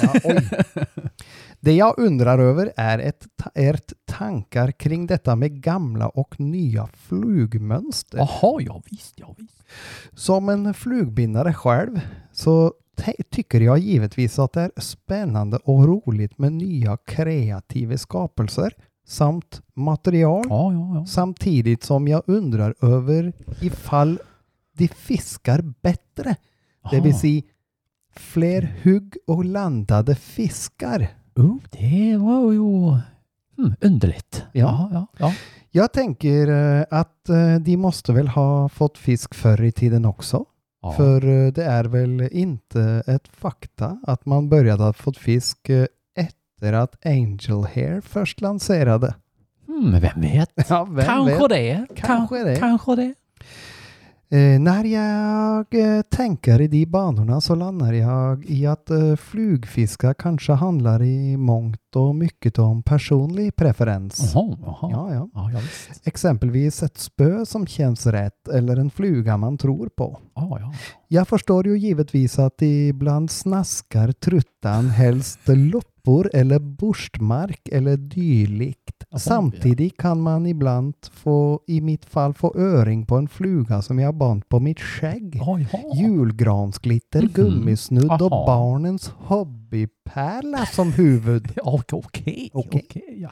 Det jag undrar över är ett, ta- ert tankar kring detta med gamla och nya flugmönster.
Jaha, ja visst, ja visst.
Som en flugbindare själv så te- tycker jag givetvis att det är spännande och roligt med nya kreativa skapelser samt material
Ja, ja, ja.
samtidigt som jag undrar över ifall de fiskar bättre. Det
Ah.
vill säga fler hugg och landade fiskar.
Oh, det var jo hm, underligt. Ah,
Ja.
ja, ja.
Jag tänker eh, att eh, de måste väl ha fått fisk förr i tiden också.
ja.
För eh, det är väl inte ett fakta att man började ha fått fisk eh, efter att Angel Hair först lanserade.
Hm, vem vet?
Ja, vem
kanske
vet?
det.
Kanske
Kan-
det.
Kanske det.
Eh, när jag eh, tänker i de banorna så landar jag i att eh, flugfiskar kanske handlar i mångt och mycket om personlig preferens.
Jaha, jaha. Ja.
Ja, ja.
Ah, Ja, visst.
Exempelvis ett spö som känns rätt eller en fluga man tror på.
Ah, Ja, ja.
Jag förstår ju givetvis att ibland snaskar truttan helst loppor eller borstmark eller dylikt.
Jaha,
Samtidigt kan man ibland få, i mitt fall, få öring på en fluga som jag band på mitt skägg.
Ah, Ja, ja.
Julgransglitter,
Mhm.
gummisnudd och
Aha.
barnens hobbypärla som huvud.
Ja, Okej, okej.
Okej.
okej, ja.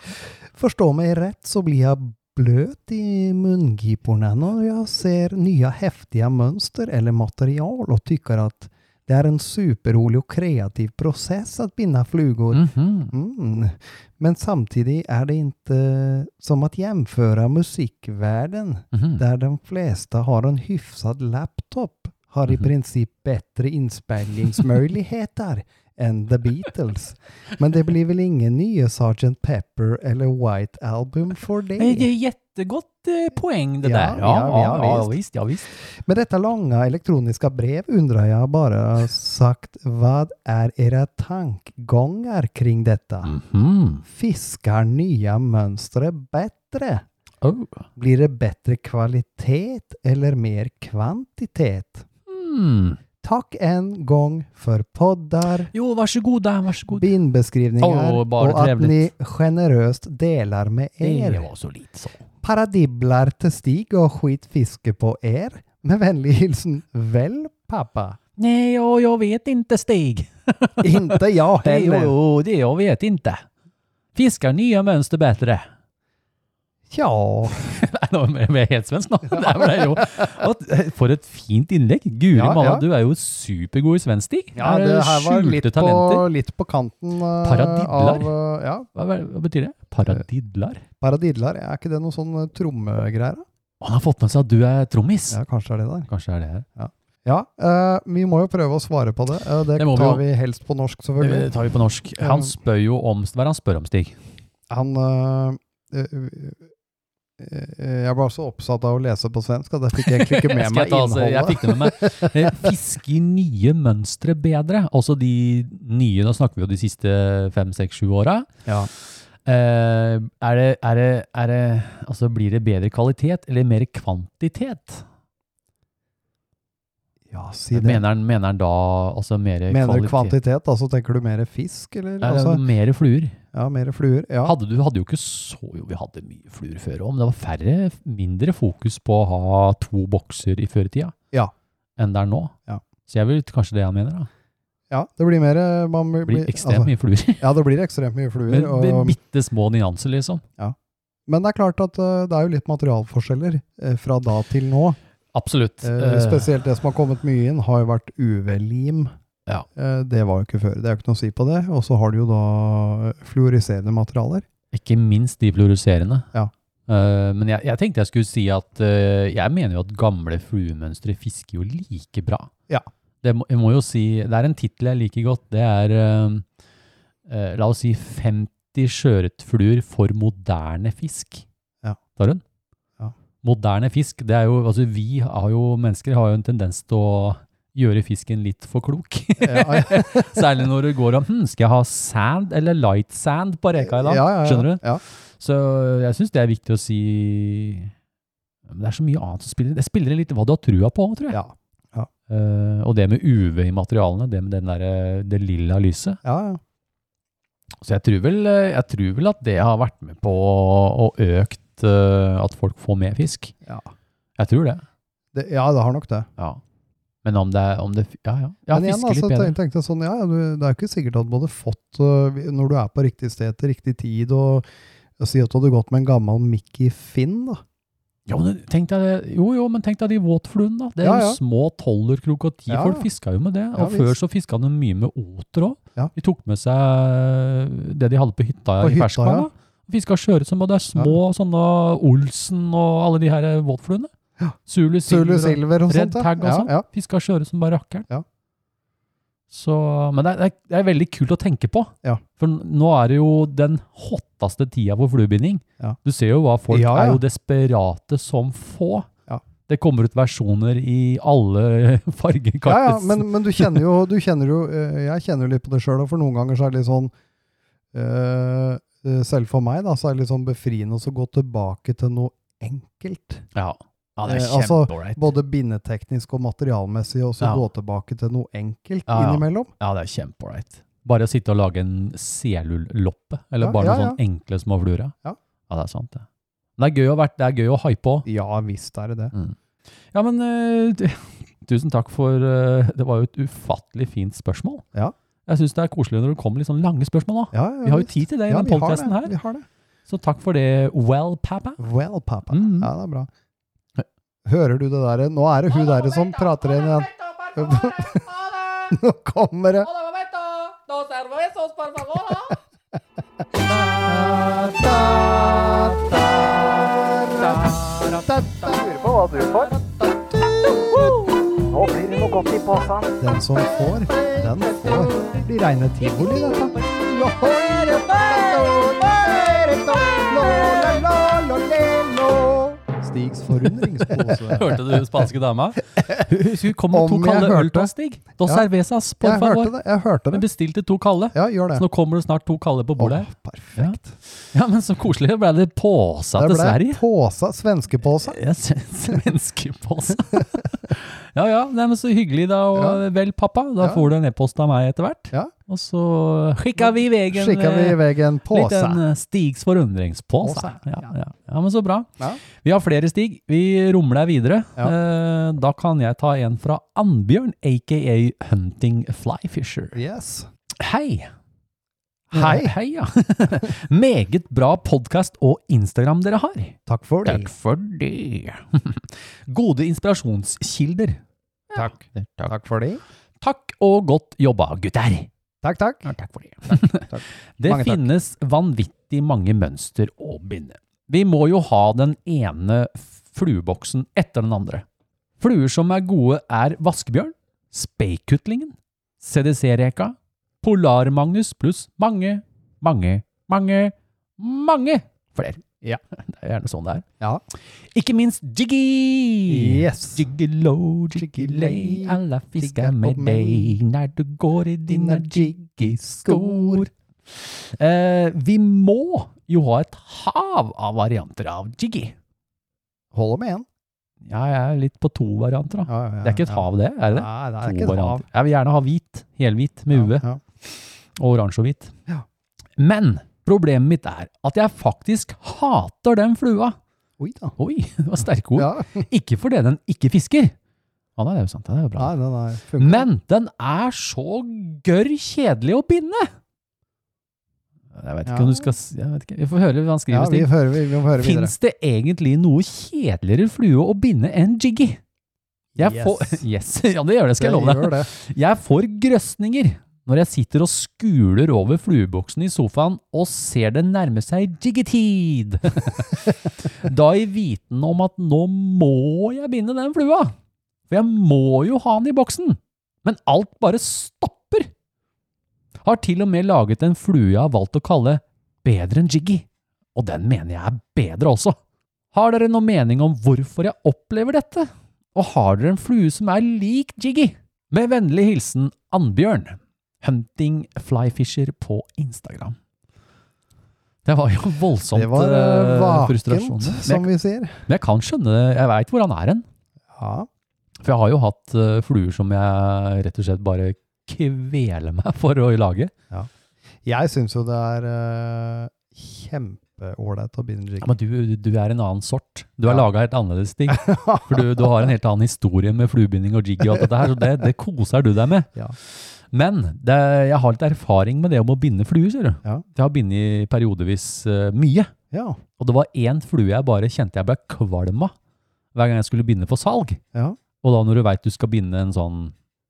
Förstå mig rätt så blir jag blöt i mungiporna när jag ser nya häftiga mönster eller material och tycker att det är en superrolig och kreativ process att binda flugor.
Mhm.
Mm. Men samtidigt är det inte som att jämföra musikvärlden
Mhm.
där de flesta har en hyfsad laptop har i
Mhm.
princip bättre inspelningsmöjligheter än The Beatles. Men det blir väl ingen ny Sgt. Pepper eller White Album för
Nej, Det är
det.
jättegott eh, poäng det
Ja,
där.
ja, ja,
ja,
visst.
visst. Ja, visst.
Med detta långa elektroniska brev undrar jag bara sagt vad är era tankegångar kring detta?
Mhm.
Fiskar nya mönster bättre?
Oh.
Blir det bättre kvalitet eller mer kvantitet?
Mm.
Tack en gång för poddar,
Jo, varsågoda, varsågoda.
binbeskrivningar
Åh, bara
och att
trevligt.
ni generöst delar med
Det
er.
var så lite så.
Paradibblar till Stig och skitfiske på er. Med vänlig hilsen, väl pappa?
Nej, ja, jag vet inte Stig.
Inte jag
Det, jo,
heller.
jo, det jag vet inte. Fiskar nya mönster bättre.
Ja,
Nå ble jeg helt svensk nå. Det ble jeg jo. Og for et fint innlegg. Guri
Ja,
malla,
ja.
du er jo supergod i svensk, Stig.
ja
Her er
det här var
skjulte
lite på,
talenter.
lite på kanten eh,
Paradiddlar?
av eh, ja,
Hva, hva hva betyr det? Paradidlar?
Paradiddlar, er ikke det noe sånn eh, trommegreier? da?
Han har fått med seg at du er trommis.
Ja, kanskje det er det der.
Kanskje er det her.
Ja, eh, vi må jo prøve å svare på det. Eh, det
Det må vi
tar
jo.
vi helst på norsk, selvfølgelig.
Det Eh, tar vi på norsk.
Ja.
Han spør jo om hva er det han spør om, Stig.
Han øh, øh, øh, Jeg var så oppsatt av å lese på svensk at jeg fikk egentlig ikke med
Skal jeg
meg
ta, altså, Jeg
innholdet.
fikk det med meg. Eh, Fiske i nye mønstre bedre. Også de nye, nå snakker vi jo de siste fem, seks, sju åra.
Ja.
Eh, er det, er det, er det, altså blir det bedre kvalitet eller mer kvantitet?
ja, si det.
Mener han, mener han da altså mer
Mener du
kvalitet?
kvantitet? Altså tenker du mer fisk, eller?
Nei,
Altså,
mer fluer.
ja, mer fluer? Ja.
Hadde du hadde jo ikke så Jo, vi hadde mye fluer før òg, men det var færre, mindre fokus på å ha to bokser i før i tida
Ja.
enn det er nå.
Ja.
Så jeg vil kanskje det han mener. da.
Ja, det blir mer eh, man blir,
Det blir ekstremt mye fluer.
Ja, det blir ekstremt mye fluer.
Men med
og,
bitte små nyanser, liksom.
men det er klart at eh, det er jo litt materialforskjeller eh, fra da til nå.
Absolutt.
Eh, spesielt det som har kommet mye inn, har jo vært UV-lim.
Ja.
Eh, det var jo ikke før. Det er jo ikke noe å si på det. Og så har du jo da eh, fluoriserende materialer.
Ikke minst de fluorescerende.
Ja.
Eh, men jeg, jeg tenkte jeg skulle si at eh, jeg mener jo at gamle fluemønstre fisker jo like bra.
Ja.
Det må, jeg må jo si, det er en tittel jeg liker godt. Det er, eh, eh, la oss si, 50 sjøørretfluer for moderne fisk.
Ja.
Tar hun?
Ja.
Moderne fisk, det er jo, altså vi har jo, mennesker har jo en tendens til å gjøre fisken litt for klok.
Ja, ja.
Særlig når det går om, hm, skal jeg ha sand eller light sand på reka i dag?
Ja, ja, ja.
Skjønner du?
Ja.
Så jeg syns det er viktig å si Men det er så mye annet som spiller Det spiller litt hva du har trua på, tror jeg.
Ja. Ja.
Eh, og det med UV i materialene, det med den der, eh, det lilla lyset.
Ja, ja.
Så jeg tror vel, eh, jeg tror vel at det har vært med på å og økt eh, at folk får mer fisk.
Ja.
Jeg tror det.
Det, ja, det har nok det.
Ja. Men om det er om det, Ja, ja. ja
Men igjen,
fiske
altså,
litt bedre.
tenk- tenkte jeg sånn, ja, ja, du, det er jo ikke sikkert at du hadde fått, øh, vi- når du er på riktig sted til riktig tid, og, og si at du hadde gått med en gammel Mickey Finn, da.
Jo, men tenk deg, det- jo, jo, men tenk deg de våtfluene, da. Det er
Ja,
jo
ja.
små tollerkrok og ti.
Ja,
Folk
ja.
fiska jo med det.
Ja,
Og før
visst.
så fiska de mye med oter òg.
Ja.
De tok med seg det de hadde på hytta
På
i
hytta,
ferskvann.
ja.
da. Fiska sjøørret som både er små, sånne Olsen og alle de her våtfluene.
Ja.
Zulu
Sulu
Silver og-
Silver og
Red
sånt. ja.
Tag og
ja,
sånn.
ja.
Fiska sjøørret som bare rakkeren.
Ja.
Så, men det er, det er- det er veldig kult å tenke på.
Ja.
For nå er det jo den hotteste tida for fluebinding.
Ja.
Du ser jo hva folk
Ja,
er
ja.
jo desperate som få.
Ja.
Det kommer ut versjoner i alle farger.
Ja, ja,
Kartes.
men, men du kjenner jo, du kjenner jo øh, jeg kjenner jo litt på det sjøl, og for noen ganger så er det litt sånn øh, øh, Selv for meg, da, så er det litt sånn befriende å gå tilbake til noe enkelt.
ja. ja, det er
Eh, altså,
kjempeålreit.
Både bindeteknisk og materialmessig, og
Ja.
så gå tilbake til noe enkelt
Ja, ja.
innimellom.
Ja, det er kjempeålreit. Bare å sitte og lage en selulloppe, eller
Ja,
bare
ja,
noen sånne enkle små fluer.
Ja.
ja, det er sant, det. Men det er gøy å, vært, det er gøy å hype òg.
Ja visst er det det.
Ja, men eh, du- tusen takk for eh, Det var jo et ufattelig fint spørsmål.
Ja.
Jeg syns det er koselig når det kommer litt sånn lange spørsmål òg.
Ja, ja,
Vi har jo
visst.
tid til det i
Ja,
den
vi har
podkasten
det,
her.
Vi har det.
Så takk for det, well, pappa.
Well, pappa.
Mm.
Ja, det er bra. Hører du det der? Nå er det hun der som prater igjen igjen. Nå kommer det!
Lurer på hva du får. Nå blir det noe godt i posen.
Den som får, den får. Det blir reine tivoli, dette. Stigs forundringspose.
Hørte du spanske dama? Hun skulle komme med to
Om jeg
kalde øl
hørte.
til oss, Stig. Dos
Ja.
cervezas, por
Jeg hørte
favor.
det. jeg hørte
Hun
det.
bestilte to kalde.
Ja, gjør
Så
det.
nå kommer det snart to kalde på bordet.
Åh, perfekt.
Ja, men så koselig. Det ble det påsa
Der
til
ble
Sverige.
påsa, svenskepåsa.
Ja, s- Svenskepåse. ja ja, nei, men så hyggelig da. Og vel, pappa, da
Ja.
får du en e-post av meg etter hvert.
Ja.
Og så skikka vi i veien
Skikka vi i veggen påse.
liten eh, Stigs forundringspåse.
Påse,
Ja,
ja.
ja. ja, men så bra.
Ja.
Vi har flere Stig. Vi rumler videre.
Ja.
Eh, da kan jeg ta en fra Annbjørn, aka Hunting Flyfisher.
Yes.
Hei!
Hei.
Eh, Hei, ja. Meget bra podkast og Instagram dere har.
Takk for det.
Takk for det. Gode inspirasjonskilder. Takk. Takk.
Takk for det.
og godt jobba, gutter.
Takk, takk.
takk for det.
takk.
Det
Mange takk.
finnes vanvittig mange mønster å binde. Vi må jo ha den ene flueboksen etter den andre. Fluer som er gode er vaskebjørn, speikutlingen, CDC-reka, Polar-Magnus pluss mange, mange, mange, mange flere.
Ja.
Det er gjerne sånn det er.
Ja.
Ikke minst Jiggy!
Yes.
Jiggelo, jiggilei,
Jiggilei,
alla fisker
fisker på
med
meg.
deg når du går i dine
Dine
jiggy-skor. Eh, vi må jo ha et hav av varianter av jiggy.
Holder med én.
Ja, jeg er litt på to varianter, da.
Ja, ja, ja,
Det er ikke et
ja.
hav, det? Er det det?
Nei, det
To
er ikke et hav.
varianter. Jeg vil gjerne ha hvit. Helhvit med hue.
Ja, ja.
og oransje og hvit.
Ja.
Men problemet mitt er at jeg faktisk hater den flua.
Oi da.
Oi, det var sterke ord.
Ja.
Ikke fordi den ikke fisker, Ja, det er jo sant. Det er jo bra.
Nei, den er funker.
Men den er så gørr kjedelig å binde! Jeg vet ikke
Ja.
om du skal s- jeg vet ikke. Vi får høre hva han
ja,
skriver.
vi
Stig.
hører, vi, vi må høre videre.
Fins det egentlig noe kjedeligere flue å binde enn Jiggy? Jeg
Yes.
får, yes, ja det gjør det, skal jeg love deg.
gjør det.
Jeg får grøsninger når jeg sitter og skuler over flueboksen i sofaen og ser det nærme seg jiggetid. da i viten om at nå må jeg binde den flua, for jeg må jo ha den i boksen. Men alt bare stopper. Har til og med laget en flue jeg har valgt å kalle Bedre enn Jiggy, og den mener jeg er bedre også. Har dere noen mening om hvorfor jeg opplever dette? Og har dere en flue som er lik Jiggy? Med vennlig hilsen Annbjørn. Hunting Flyfisher på Instagram. Det var jo voldsomt
Det var eh,
eh, frustrasjon.
vakent,
Men jeg-
som vi sier.
men jeg kan skjønne, jeg veit hvor han er hen.
Ja,
For jeg har jo hatt eh, fluer som jeg rett og slett bare kveler meg for å lage.
Jeg syns jo det er eh, kjempeålreit å begynne
Ja,
jiggy.
men du, du er en annen sort. Du har
Ja.
laga helt annerledes ting. For du, du har en helt annen historie med fluebinding og jiggy og alt dette her, så det, det koser du deg med.
Ja.
Men det, jeg har litt erfaring med det om å binde fluer, ser du.
Ja.
Jeg har bindet periodevis eh, mye.
Ja,
Og det var én flue jeg bare kjente jeg ble kvalm av hver gang jeg skulle binde for salg.
ja.
Og da når du veit du skal begynne en sånn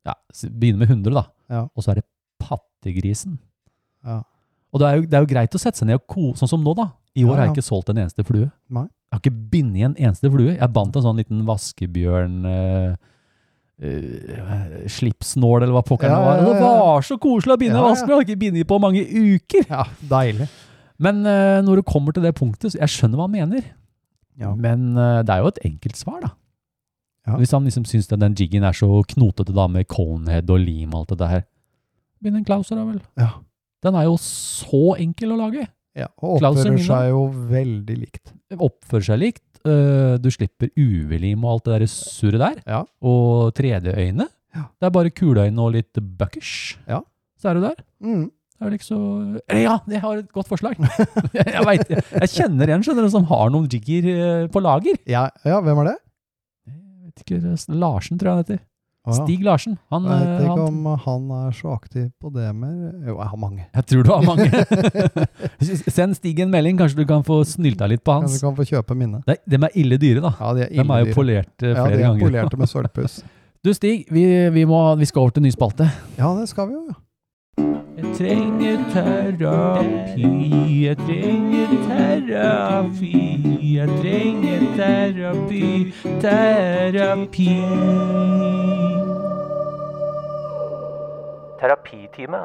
ja, s- Begynne med 100, da.
Ja.
Og så er det pattegrisen.
Ja.
Og det er, jo, det er jo greit å sette seg ned og ko, sånn som nå, da. I år
Ja,
har
ja.
jeg ikke solgt en eneste flue.
Nei.
Jeg har ikke bindet en eneste flue. Jeg bandt en sånn liten vaskebjørn eh, eh, slipsnål, eller hva pokker
Ja,
det var.
ja, ja,
Det
ja.
var så koselig å binde
Ja,
ja,
ja.
vaskebjørn! Jeg har ikke bindet på mange uker.
ja deilig.
Men eh, når du kommer til det punktet, så jeg skjønner hva han mener.
Ja.
Men eh, det er jo et enkelt svar, da.
Ja.
Hvis han liksom syns at den jiggen er så knotete da med conehead og lim og alt det der. Begynn en klauser, da vel.
Ja.
Den er jo så enkel å lage.
Ja, og
Klauser
oppfører
Mina.
seg jo veldig likt.
Oppfører seg likt. eh, Du slipper UV-lim og alt det der surret der.
Ja.
Og 3D-øyne.
Ja.
Det er bare kuleøyne og litt buckers.
Ja.
Så er du der.
Mm.
Det er vel ikke så Eller ja, jeg har et godt forslag. jeg vet, jeg kjenner en skjønner du, som har noen jigger eh, på lager.
Ja, ja, hvem er det?
Jeg vet ikke, det er Larsen, tror jeg han heter.
Å, ja.
Stig Larsen. Han,
Jeg vet
eh,
ikke
han,
om han er så aktiv på det mer. Jo, jeg har mange.
jeg tror du har mange. Send Stig en melding, kanskje du kan få snylta litt på
Kanskje
hans.
du kan få kjøpe mine.
Nei, de er ille dyre, da.
Ja, de er
De
ille
er jo
dyre.
polert eh,
Ja,
flere
de er
ganger.
polerte med sølvpuss.
Du Stig, vi, vi, må, vi skal over til ny spalte.
Ja, det skal vi jo. ja.
Jeg trenger terapi, jeg trenger terapi, jeg trenger terapi, terapi.
Terapitime.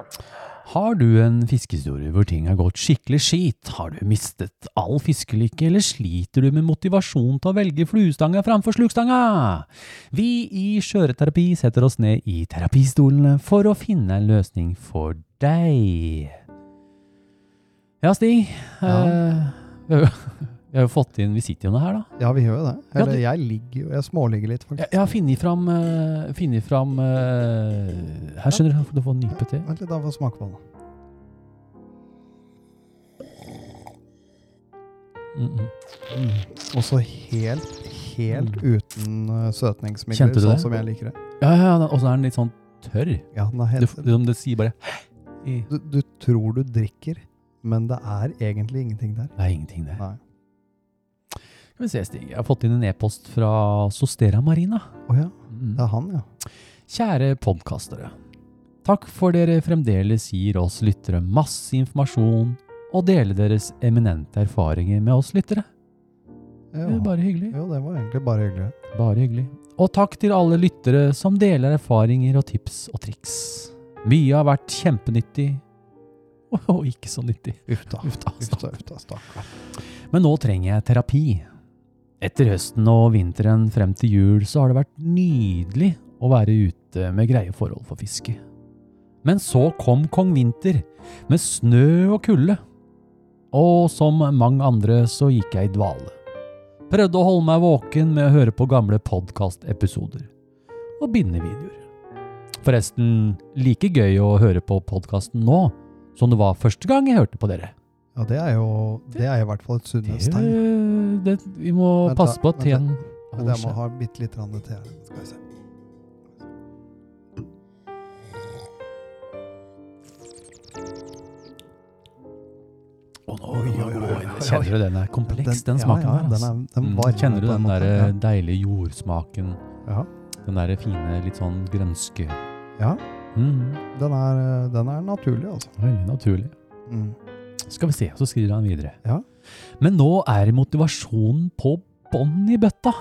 Har du en fiskehistorie hvor ting har gått skikkelig skit? Har du mistet all fiskelykke, eller sliter du med motivasjon til å velge fluestanga framfor slukstanga? Vi i Skjøreterapi setter oss ned i terapistolene for å finne en løsning for deg. Ja, Stig.
Ja.
eh, vi har jo- vi har jo fått inn visitioene her, da.
Ja, vi gjør jo det.
Ja,
Eller
du-
jeg ligger jo Jeg småligger litt,
Jeg,
faktisk.
jeg har funnet fram, eh, funnet fram eh, Her skjønner du, du får nype til.
Vent litt, da får jeg smake på den.
Mm -mm.
Også helt, helt uten uh, søtningsmidler,
Kjente du
sånn
det?
som jeg liker det.
Ja, ja, ja, og så er den litt sånn tørr.
Ja, den er
Du,
helt,
det, det sier bare i-
du, du tror du drikker, men det er egentlig ingenting der.
Det er ingenting, det.
Nei.
Skal vi se, Stig. Jeg har fått inn en e-post fra Sostera Marina. Mm.
Å ja, det er han, ja.
Kjære podkastere. Takk for dere fremdeles gir oss lyttere masse informasjon og deler deres eminente erfaringer med oss lyttere. Det
Jo,
er bare hyggelig.
jo, det var egentlig bare hyggelig.
Bare hyggelig. Og takk til alle lyttere som deler erfaringer og tips og triks. Mye har vært kjempenyttig, og ikke så nyttig.
Uff da.
Uff da,
Uff da, uff da, stakkar.
Men nå trenger jeg terapi. Etter høsten og vinteren frem til jul så har det vært nydelig å være ute med greie forhold for fiske. Men så kom kong vinter, med snø og kulde. Og som mange andre så gikk jeg i dvale. Prøvde å holde meg våken med å høre på gamle podkastepisoder. Og bindevideoer. Forresten, like gøy å høre på podkasten nå som det var første gang jeg hørte på dere.
Ja, det er jo Det er i hvert fall et
Det,
sunnhetstegn.
det, vi må
Vent da,
passe på at
vent da.
teen
Men
holder
jeg må
seg.
ha bitte litt grann til her. Skal vi se.
Å, nå,
Oi, oi, oi, oi.
Kjenner du den er kompleks, den
ja,
smaken
ja,
der.
den
altså.
er- den
Mm,
varmer
Kjenner du
på en
den
måte,
der eh,
ja.
deilige jordsmaken?
Ja.
Den der fine, litt sånn grønske.
Ja.
Mm,
Den er, eh, den er naturlig, altså.
veldig naturlig.
Mm.
Skal vi se, så skriver han videre.
Ja.
Men nå er motivasjonen på bånn i bøtta.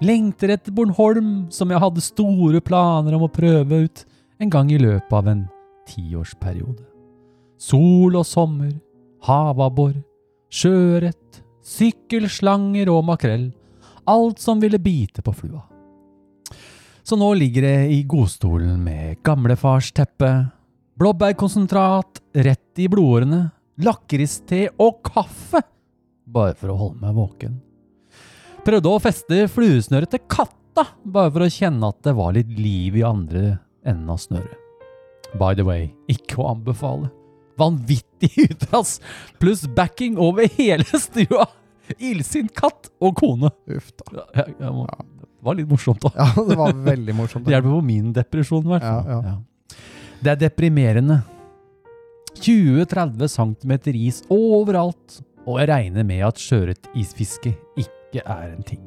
Lengter etter Bornholm, som jeg hadde store planer om å prøve ut en gang i løpet av en tiårsperiode. Sol og sommer, havabbor, sjøørret, sykkelslanger og makrell. Alt som ville bite på flua. Så nå ligger det i godstolen med gamlefars teppe, Blåbærkonsentrat rett i blodårene, lakriste og kaffe. Bare for å holde meg våken. Prøvde å feste fluesnøret til katta, bare for å kjenne at det var litt liv i andre enden av snøret. By the way, ikke å anbefale. Vanvittig utrass, pluss backing over hele stua. Illsint katt og kone.
Uff da.
Ja, jeg, jeg må, det var litt morsomt, da.
Ja, det var veldig morsomt.
Det hjelper på min depresjon, i hvert fall.
Ja,
Ja. Det er deprimerende. 20-30 cm is overalt, og jeg regner med at sjøørretisfiske ikke er en ting.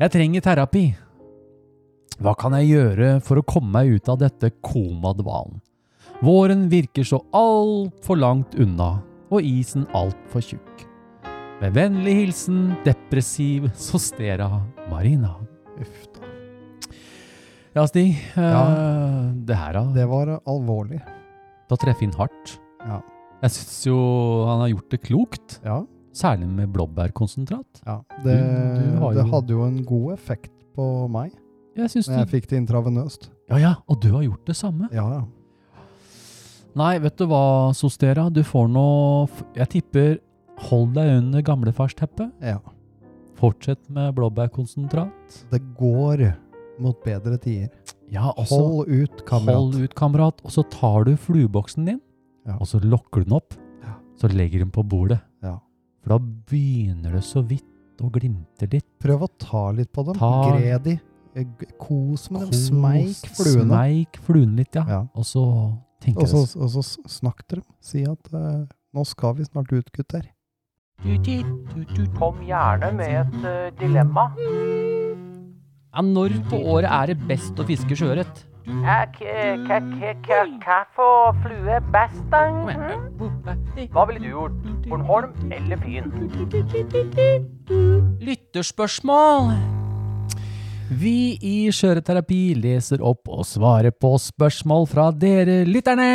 Jeg trenger terapi. Hva kan jeg gjøre for å komme meg ut av dette komadvalen? Våren virker så altfor langt unna, og isen altfor tjukk. Med vennlig hilsen depressiv Sostera Marina.
Uff da.
Ja, Stig. eh,
Ja.
Det her, da.
Det var eh, alvorlig.
Da treffer inn hardt.
Ja.
Jeg syns jo han har gjort det klokt.
Ja.
Særlig med blåbærkonsentrat.
ja. Det,
Du- du har
det
jo-
hadde jo en god effekt på meg
Jeg syns
når jeg
du
fikk det intravenøst.
Ja, ja, og du har gjort det samme.
Ja, ja.
Nei, vet du hva, Sostera? Du får nå f- Jeg tipper hold deg under gamlefarsteppet.
ja.
Fortsett med blåbærkonsentrat.
Det går mot bedre tider.
Ja, og så
Hold ut, kamerat.
Hold ut, kamerat. Og så tar du flueboksen din,
Ja.
og så lokker du den opp.
Ja.
Så legger du den på bordet.
Ja.
For da begynner det så vidt å glimte litt.
Prøv å ta litt på dem.
Ta-
Gre de. Eh, g- Kos med dem.
Kos,
Smeik fluene.
Smeik fluen litt, ja.
Ja.
Og så tenker
Og
jeg
så,
det.
og så s- snakk til dem. Si at eh, nå skal vi snart ut, gutter.
Kom gjerne med et eh, dilemma.
Ja, når på året er det best å fiske sjøørret?
Hva for flue best, da? Hva ville du gjort? Bornholm eller Fyn?
Lytterspørsmål!
Vi i Skjøreterapi leser opp og svarer på spørsmål fra dere lytterne!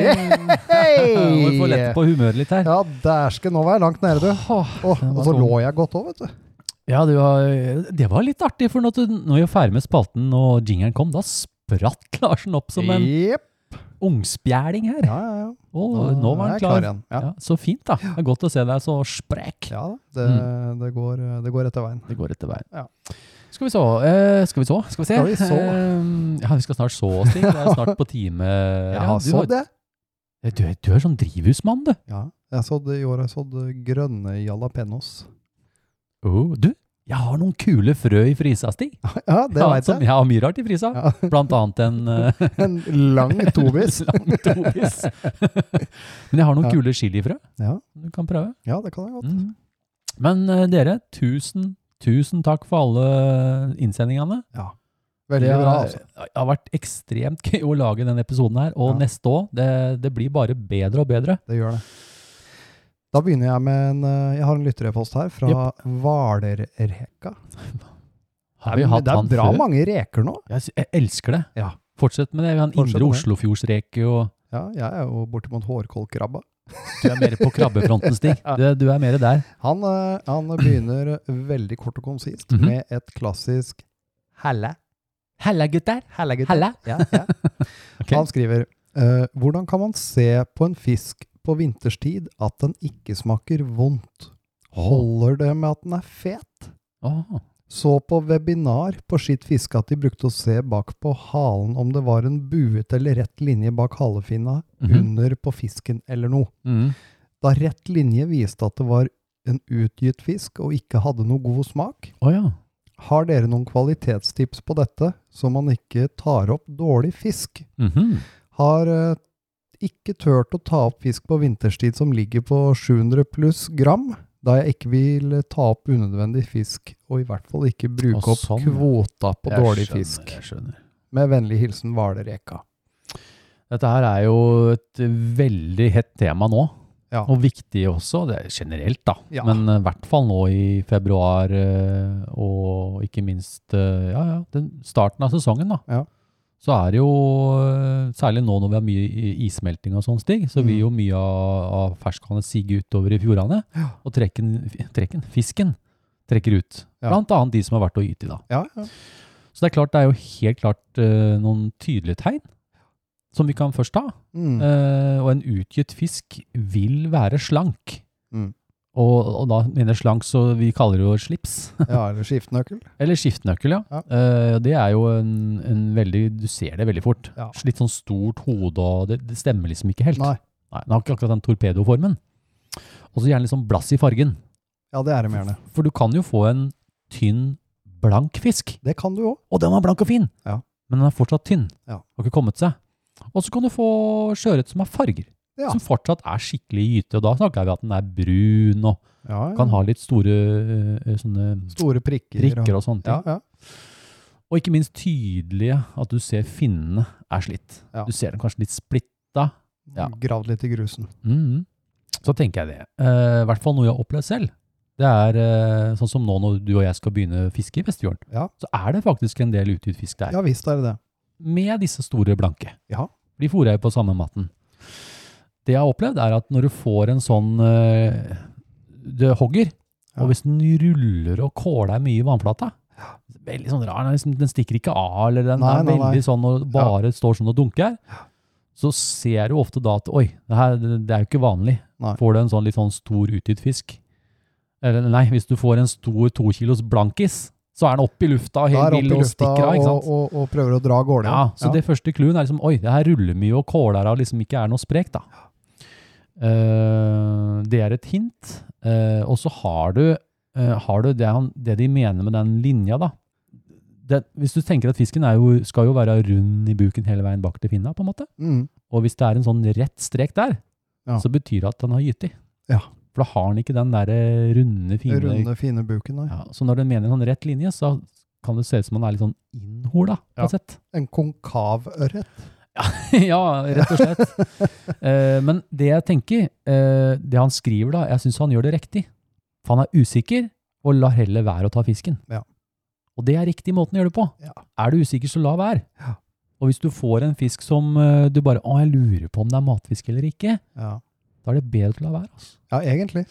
Må vi få lette på humøret litt her.
Ja, dæsken, nå var jeg langt nede, du.
Åh,
Åh,
den
og
var
så
tung.
lå jeg godt òg, vet du.
Ja, det var, det var litt artig, for når, du, når vi var ferdig med spalten og jingeren kom, da spratt Larsen opp som en
Jep.
ungspjæling her.
Ja, ja, ja.
Og nå var
er
han
jeg
klar.
igjen. Ja.
Ja, så fint, da. Det er godt å se deg så sprek.
Ja, det, det, går, det går etter veien.
Mm. Det går etter veien.
Ja.
Skal vi så eh, Skal vi så? Skal vi se?
Skal vi så?
Eh, ja, vi skal snart så oss til. Det er snart på time
Jeg
Ja,
har
du,
sådd,
har-
jeg.
Du, er- du er sånn drivhusmann, du.
Ja, jeg sådd, I år har jeg sådd grønne jalapeños.
Oh, du, jeg har noen kule frø i frysa, Stig.
Ja,
ja,
det
sånn,
vet
som-
jeg.
Jeg har mye rart i frysa.
Ja,
Blant annet en eh,
en lang tobis.
lang tobis. Men jeg har noen
Ja.
kule chilifrø
Ja.
du kan prøve.
ja, det kan jeg godt.
Mm. Men eh, dere, tusen, tusen takk for alle innsendingene.
Veldig
det
bra,
har-
altså.
det har vært ekstremt gøy å lage denne episoden her, og
Ja.
neste òg. Det, det blir bare bedre og bedre.
Det gjør det. Da begynner jeg med en eh, Jeg har en lytterepost her fra Hvalerreka.
Har vi hatt
det
han
er bra
før?
mange reker nå.
Jeg, sy- jeg elsker det.
Ja.
Fortsett med det. Vi har en
Fortsett
indre
med det.
Oslofjordsreke, og
Ja, jeg er jo bortimot hårkålkrabba.
du er mer på krabbefronten, Stig. Du, du er mer der.
Han, eh, han begynner veldig kort og konsist
Mhm.
med et klassisk Helle.
Halla, gutter.
Helle, gutter.
Halla.
Ja, ja.
Ok.
Han skriver eh, Hvordan kan man se på en fisk på vinterstid at den ikke smaker vondt? Holder det med at den er fet?
Åh.
Så på webinar på sitt fiske at de brukte å se bak på halen om det var en buet eller rett linje bak halefinna
Mhm.
under på fisken eller noe.
Mm.
Da rett linje viste at det var en utgitt fisk og ikke hadde noe god smak.
Å ja.
Har dere noen kvalitetstips på dette, så man ikke tar opp dårlig fisk?
Mhm.
Har eh, ikke turt å ta opp fisk på vinterstid som ligger på 700 pluss gram, da jeg ikke vil eh, ta opp unødvendig fisk, og i hvert fall ikke bruke
Og
opp
sånn, ja.
kvota på
Jeg
dårlig
skjønner,
fisk.
Jeg skjønner.
Med vennlig hilsen Hvalereka.
Dette her er jo et veldig hett tema nå,
Ja.
og viktig også, det er generelt da,
Ja.
men i hvert fall nå i februar, eh, og ikke minst eh, ja, ja, den starten av sesongen da,
Ja.
så er det jo, eh, særlig nå når vi har mye i- issmelting og sånn stig, så
Mm.
vil jo mye av, av ferskene sige utover i fjordene,
Ja.
og trekken, fi- trekken, fisken trekker ut,
Ja.
blant annet de som har vært å yte i da.
Ja, ja.
Så det er klart, det er jo helt klart eh, noen tydelige tegn som vi kan først ta.
Mm.
Eh, og en utgitt fisk vil være slank.
Mm.
Og, og da mener jeg slank, så vi kaller det jo slips.
ja, eller skiftenøkkel.
Eller skiftenøkkel, ja.
Ja.
Eh, det er jo en, en veldig Du ser det veldig fort.
Ja.
Litt sånn stort hode, og det, det stemmer liksom ikke helt.
Nei.
Nei, Den har ikke akkurat den torpedoformen. Og så gjerne litt sånn blass i fargen.
Ja, det er de gjerne.
For du kan jo få en tynn, blank fisk.
Det kan du òg.
Og den var blank og fin,
Ja.
men den er fortsatt tynn.
Ja.
Har ikke kommet seg. Og så kan du få sjøørret som har farger,
Ja.
som fortsatt er skikkelig gyte. Og da snakker vi at den er brun og
Ja, ja.
kan ha litt store eh, sånne
Store prikker.
prikker og sånne
Ja,
ting.
ja.
Og ikke minst tydelige at du ser finnene er slitt.
Ja.
Du ser dem kanskje litt splitta. Ja.
Gravd litt i grusen.
Mhm. Så tenker jeg det. Eh, I hvert fall noe jeg har opplevd selv. Det er eh, sånn som nå når du og jeg skal begynne å fiske i Vestfjorden.
Ja.
Så er det faktisk en del utgitt fisk der.
Ja visst er det det.
med disse store blanke.
Ja.
De fôrer jeg på samme matten. Det jeg har opplevd er at når du får en sånn eh, det hogger,
Ja.
og hvis den ruller og kåler mye i vannflata, veldig sånn rar, den, er liksom, den stikker ikke av, eller den
Nei,
er
nei, nei.
veldig sånn og bare står sånn og dunker, så ser du ofte da at oi, det, her, det er jo ikke vanlig.
Nei.
Får du en sånn litt sånn stor utgitt fisk, eller nei, hvis du får en stor to kilos blankis, så er den opp i lufta og
Da
helt
er
vill
opp i
og
lufta
stikker av, ikke sant?
og, og, og prøver å dra av gårde.
Ja, så det første clouen er liksom, oi, det her ruller mye og kåler av liksom ikke er noe sprekt da. Eh, det er et hint, Eh, og så har du, eh, har du det, han, det de mener med den linja da. Det, hvis du tenker at fisken er jo, skal jo være rund i buken hele veien bak til finna på en måte,
Mm.
og hvis det er en sånn rett strek der,
Ja.
så betyr det at den har gytig.
Ja.
For da har den ikke den der eh, runde, fine...
Runde, fine buken. Ja.
Ja, så når den mener en sånn rett linje, så kan det se ut som om den er litt sånn innhorda, på
Ja.
et sett.
En konkav ørret.
ja, rett og slett. Eh, men det jeg tenker, eh, det han skriver da, jeg syns han gjør det riktig. For han er usikker, og lar heller være å ta fisken.
Ja.
Og det er riktig måten å gjøre det på.
Ja.
Er du usikker, så la være.
Ja.
Og hvis du får en fisk som eh, du bare Å, jeg lurer på om det er matfisk eller ikke.
Ja.
Da er det bedre å la være. Altså.
ja, egentlig.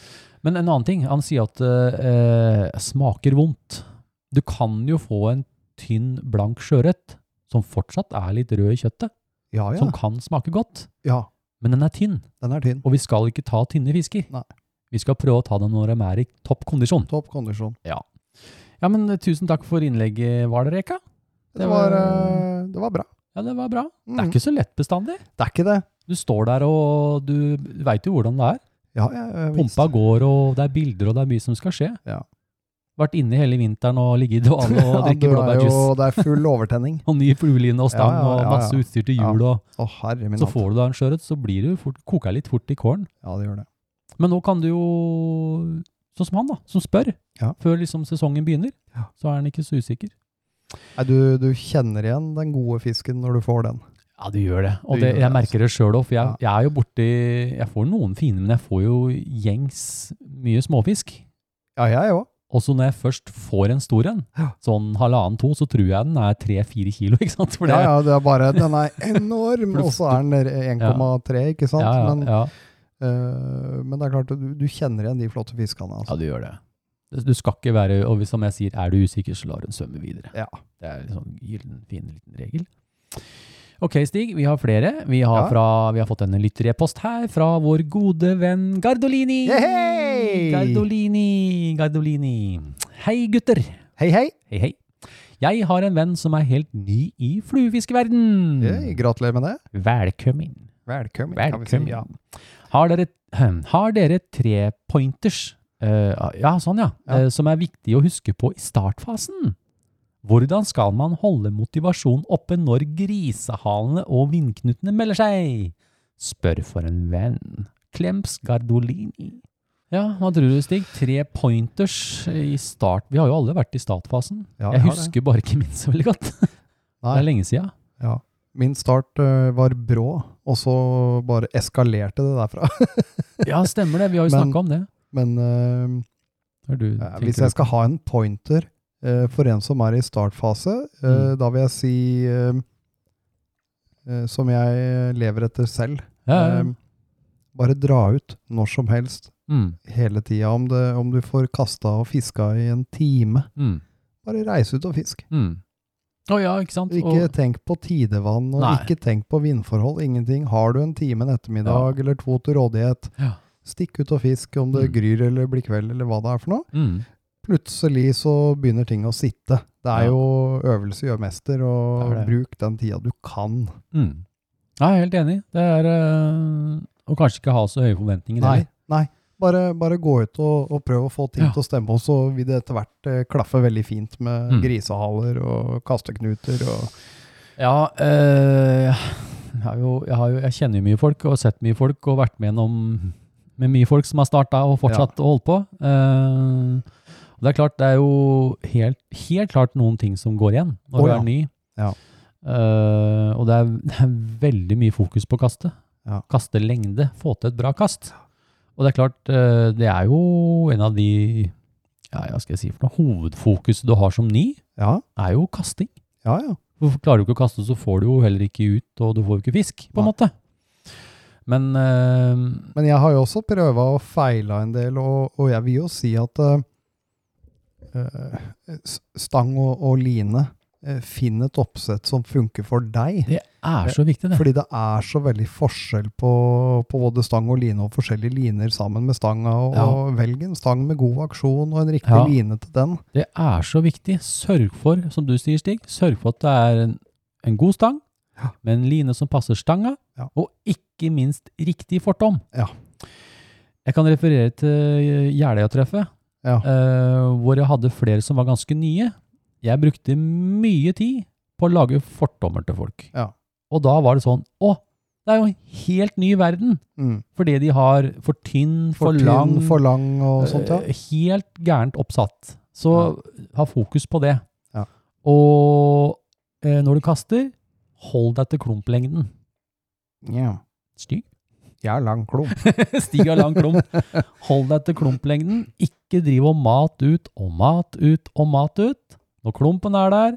Men en annen ting, han sier at eh, eh, smaker vondt. Du kan jo få en tynn, blank sjøørret som fortsatt er litt rød i kjøttet,
Ja, ja.
som kan smake godt,
ja.
men den er tynn.
Den er tynn.
Og vi skal ikke ta tynne fisker.
Nei.
Vi skal prøve å ta dem når de er i topp kondisjon.
Topp kondisjon.
Ja, men eh, tusen takk for innlegget, Hvalereka.
Det var, eh, det var bra.
Ja, det var bra.
Mm.
Det er ikke så lett bestandig.
det er ikke det.
Du står der, og du veit jo hvordan det er.
Ja, ja, ja, visst.
Pumpa går, og det er bilder, og det er mye som skal skje.
Ja.
Vært inne hele vinteren og ligget i dvale og
Ja, du
drikke
er
blåbærjuice.
jo- Det er full overtenning.
Og ny flueline og stang
Ja, ja, ja,
og masse
ja.
utstyr til
Ja.
hjul. Og
Å, herre min
så
hatt.
får du deg en sjøørret, så blir du fort, koker litt fort i kålen.
Ja, det gjør det.
Men nå kan du jo, sånn som han da, som spør,
Ja.
før liksom sesongen begynner,
Ja.
så er han ikke så usikker.
Nei, du, du kjenner igjen den gode fisken når du får den.
Ja, du gjør det. Og
Du
det,
gjør det, altså.
jeg merker det sjøl òg, for jeg,
Ja.
jeg er jo borti Jeg får noen fine, men jeg får jo gjengs mye småfisk.
Ja, jeg òg.
Og så når jeg først får en stor en,
Ja.
sånn halvannen-to, så tror jeg den er tre-fire kilo, ikke sant? For det-
Ja, ja, det er bare, den er enorm, og så er den 1,3, ikke sant?
ja, ja,
Men,
ja.
eh, men det er klart, du, du kjenner igjen de flotte fiskene. Altså.
Ja, du gjør det. Du- Du skal ikke være, og hvis- som jeg sier, er du usikker, så lar hun svømme videre.
Ja.
Det er en sånn gyllen, fin liten regel. Ok, Stig, vi har flere. Vi har,
Ja.
fra, vi har fått en lytterepost her fra vår gode venn Gardolini.
Yehey!
Gardolini, Gardolini. Hei, gutter.
Hei, hei!
Hei, hei. Jeg har en venn som er helt ny i fluefiskeverden.
Hey, Eh, gratulerer med det.
Velkommen.
Velkommen. kan vi si.
Mm. Velkommen.
Ja.
Har dere, har dere tre pointers, eh, ja, sånn ja,
Ja.
eh, som er viktig å huske på i startfasen? Hvordan skal man holde motivasjonen oppe når grisehalene og vindknutene melder seg? Spør for en venn. Klems Gardolini. Ja, hva tror du, Stig? Tre pointers i start. Vi har jo alle vært i startfasen.
Ja,
jeg
har det.
husker bare ikke minst så veldig godt. Det
Nei.
er lenge siden.
Ja. Min start eh, var brå, og så bare eskalerte det derfra.
Ja, stemmer det. Vi har jo
Men-
snakka om det.
Men eh,
Hva er det du
Ja,
tenker
Hvis jeg
på?
skal ha en pointer eh, for en som er i startfase, eh,
Mm.
da vil jeg si eh, eh, Som jeg lever etter selv.
ja, ja.
Eh, bare dra ut når som helst,
mm,
hele tida. Om, det- om du får kasta og fiska i en time,
mm,
bare reis ut og fisk.
mm. Å ja, ikke sant?
Ikke
og,
tenk på tidevann, og
Nei.
ikke tenk på vindforhold. Ingenting. Har du en time en ettermiddag eller to til rådighet,
Ja.
stikk ut og fisk om det
Mm.
gryr eller blir kveld eller hva det er for noe.
mm,
plutselig så begynner ting å sitte. Det er
Ja.
jo øvelse gjør mester, og
Det er det.
bruk den tida du kan.
mm. Nei, jeg er helt enig. Det er øh, å kanskje ikke ha så høye forventninger
Nei,
heller.
nei. Bare, bare gå ut og, og prøv å få ting
Ja.
til å stemme, og så vil det etter hvert eh, klaffe veldig fint med
Mm.
grisehaler og kasteknuter og
Ja, øh, jeg, har jo, jeg, har jo, jeg kjenner jo mye folk og har sett mye folk og vært med gjennom med mye folk som har starta og fortsatt å holde på. Eh, og det er klart, det er jo helt, helt klart noen ting som går igjen når
Å,
du
ja.
er ny.
Ja.
Eh, og det er, det er veldig mye fokus på kastet.
Ja.
Kastelengde, få til et bra kast. Og det er klart, eh, det er jo en av de ja, hva skal jeg si for noe, hovedfokuset du har som ny,
Ja,
er jo kasting.
ja, ja.
For klarer du ikke å kaste, så får du jo heller ikke ut, og du får jo ikke fisk, på en
Nei.
måte. Men eh,
Men jeg har jo også prøva og feila en del, og, og jeg vil jo si at eh, eh, s- stang og, og line, eh, finn et oppsett som funker for deg.
det er så viktig, det.
Fordi det er så veldig forskjell på, på både stang og line, og forskjellige liner sammen med stanga. Og,
Ja.
og velg en stang med god aksjon og en riktig
Ja.
line til den.
Det er så viktig. Sørg for, som du sier, Stig, sørg for at det er en, en god stang,
Ja.
med en line som passer stanga,
Ja.
og ikke minst riktig fortom.
Ja.
Jeg kan referere til Jeløya-treffet,
Ja.
eh, hvor jeg hadde flere som var ganske nye. Jeg brukte mye tid på å lage fortommer til folk.
Ja.
Og da var det sånn Å, det er jo en helt ny verden!
Mm.
Fordi de har for tynn, for,
For, tynn,
lang
for lang og sånt, ja.
eh, Helt gærent oppsatt. Så ha fokus på det.
Ja.
Og eh, når du kaster, hold deg til klumplengden.
ja.
Stig.
Jeg er lang klump.
Stig har lang klump. Hold deg til klumplengden. Ikke driv og mat ut og mat ut og mat ut. Når klumpen er der,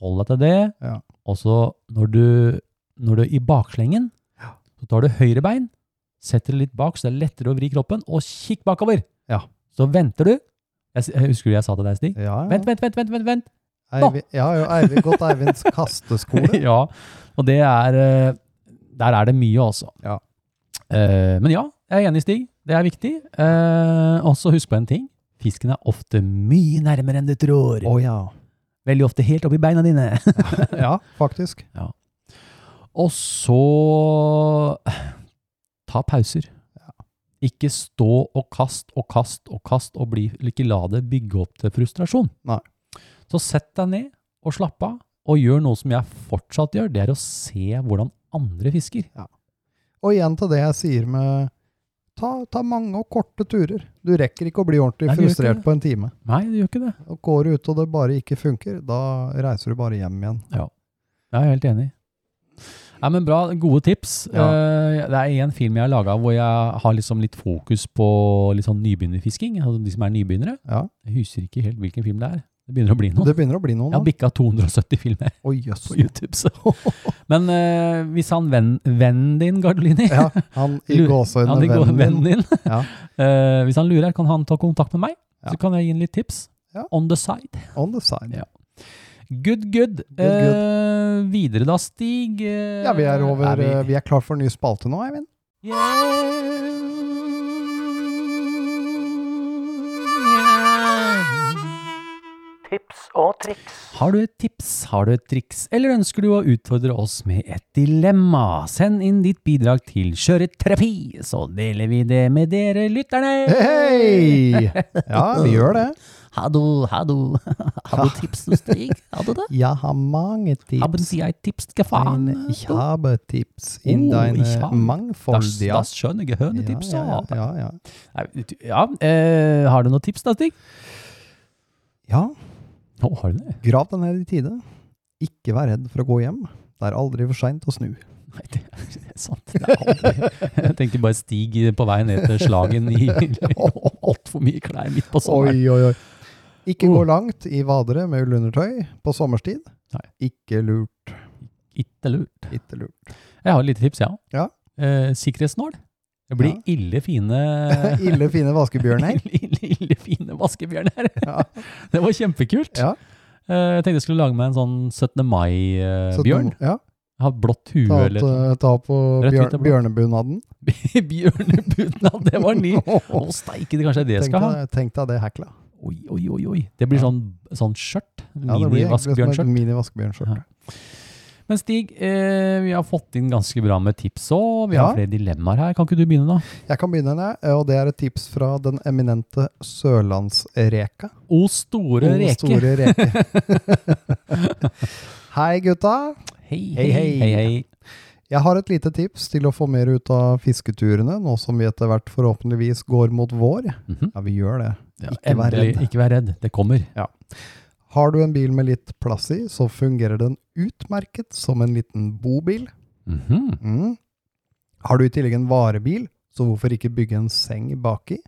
hold deg til det.
Ja.
Og så når du, når du i bakslengen, så tar du høyre bein, setter det litt bak, så det er lettere å vri kroppen, og kikk bakover.
Ja.
Så venter du. Jeg, s- jeg husker du jeg sa til deg, Stig?
Ja, ja.
Vent, vent, vent, vent, vent, vent.
Eivind, ja, ja, Eivind, godt Eivinds kasteskole.
ja, og det er eh, Der er det mye, altså.
Ja.
Eh, men ja, jeg er enig, Stig. Det er viktig. Eh, og så husk på en ting. Fisken er ofte mye nærmere enn du tror.
Å ja.
Veldig ofte helt oppi beina dine.
Ja, faktisk.
og så ta pauser. Ikke stå og kast og kast og kast og bli, ikke la det bygge opp til frustrasjon.
Nei.
Så sett deg ned og slapp av, og gjør noe som jeg fortsatt gjør, det er å se hvordan andre fisker.
Og igjen til det jeg sier med ta, ta mange og korte turer. Du rekker ikke å bli ordentlig
Nei, du gjør ikke
frustrert
det.
på en time.
Nei, det gjør ikke det.
Og går du ut og det bare ikke funker, da reiser du bare hjem igjen.
Jeg er helt enig. Nei, men bra, gode tips.
Ja.
Eh, det er en film jeg har laget hvor jeg har liksom litt fokus på litt sånn nybegynnerfisking, altså de som er nybegynnere.
Ja.
Jeg husker ikke helt hvilken film det er. Det begynner å bli noen.
Det begynner å bli noen.
Jeg har bikka 270 filmer
Å, jøss.
på YouTube. Så. Men eh, hvis han venn, vennen din, Gardolini
Ja, han i
Lurer-
gåseøynene
han i går-
vennen
vennen
din.
din.
Ja.
eh, hvis han lurer, kan han ta kontakt med meg?
Ja.
Så kan jeg gi ham litt tips.
Ja.
On the side.
On the side.
Ja. Good, good.
good.
Eh, videre da, Stig. eh,
Ja, vi er over
vi-
eh, Vi er klar for en ny spalte nå, Eivind.
Tips og triks.
Har du et tips, har du et triks, eller ønsker du å utfordre oss med et dilemma? Send inn ditt bidrag til Kjøreterapi, så deler vi det med dere lytterne!
Hei! Ja, vi gjør det.
Har du, har du, har du tips til Stig? Har du det?
Jeg har mange
Haben
tips.
Sie ein Tipps gefahren?
Ein- Ich habe Tipps in
Oh,
deine
ich habe-
mangfoldige
Das, das schöne Gehörnetips.
ja, ja, ja, ja, ja.
ja, eh, har du noen tips da, Stig?
ja,
Å, har du det?
grav den her i tide. Ikke vær redd for å gå hjem. Det er aldri for seint å snu.
Nei, det er sant. Det er aldri. Jeg tenkte bare Stig på vei ned til Slagen i altfor mye klær midt på sommeren.
oi, oi. Ikke gå langt i vadere med ullundertøy på sommerstid.
Nei.
Ikke lurt.
Ikke lurt.
Ikke lurt.
Jeg har et lite tips, ja.
Ja.
Eh, sikkerhetsnål. Det blir
Ja.
ille fine
Ille fine vaskebjørner.
ille, ille, ille fine vaskebjørner.
Ja.
Det var kjempekult.
Ja.
Eh, jeg tenkte jeg skulle lage meg en sånn 17.
Så du-
mai-bjørn.
Ja,
Ha blått hue
ta, eh,
eller sånn.
ta, ta på
Rødt, hvitt
bjørn,
og blått.
bjørnebunaden.
Bjørnebunad, det var ny! Å,
Åh,
steike, det kanskje er det jeg
Tenk
skal ha.
deg, tenk deg det hekla.
Oi, oi, oi, oi. Det blir
Ja.
sånn, sånn skjørt.
Ja, det blir egentlig som et
Mini-vaskebjørnskjørt.
mini-vaskebjørnskjørt.
Ja. Men Stig, eh, vi har fått inn ganske bra med tips òg. Vi
Ja.
har flere dilemmaer her. Kan ikke du begynne, da?
Jeg kan begynne, jeg, og det er et tips fra den eminente Sørlandsreka.
O store
Den
reke.
Store reke. Hei, gutta.
Hei, hei,
Hei,
hei.
hei.
hei,
Jeg har et lite tips til å få mer ut av fisketurene, nå som vi etter hvert forhåpentligvis går mot vår.
Mhm.
Ja, vi gjør det.
Ja,
Ikke vær
endelig.
redd.
Ikke vær redd. Det kommer.
Har du en bil med litt plass i, så fungerer den utmerket som en liten bobil.
Mhm.
Mm. Har du i tillegg en varebil, så hvorfor ikke bygge en seng baki?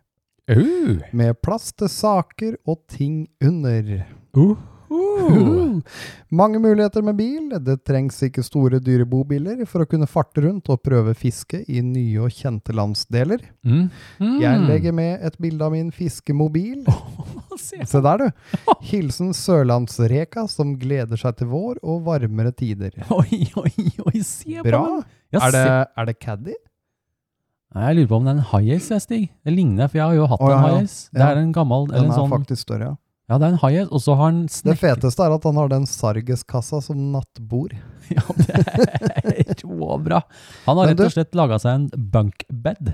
Au.
Med plass til saker og ting under.
Uhu.
Uhuh. Mange muligheter med bil. Det trengs ikke store, dyre bobiler for å kunne farte rundt og prøve fiske i nye og kjente landsdeler.
Mm. Mm.
Jeg legger med et bilde av min fiskemobil.
Se.
Se der, du. Hilsen Sørlandsreka, som gleder seg til vår og varmere tider.
Oi, oi, oi, se på den!
Bra.
Ja,
Er det,
se-
er det Caddy?
Nei, Jeg lurer på om det er en high-ace, jeg, Stig. Det ligner, for jeg har jo hatt
Å, ja,
en
ja.
high-ace. Det
Ja.
er en gammel eller
Den
en
er
sånn,
faktisk større, ja.
Ja, det er en high-ace, og så har han
Det
snekker...
feteste er at han har den sargeskassa som nattbord.
Ja, det er råbra. Han har
Men
rett og
du-
slett laga seg en bunkbed.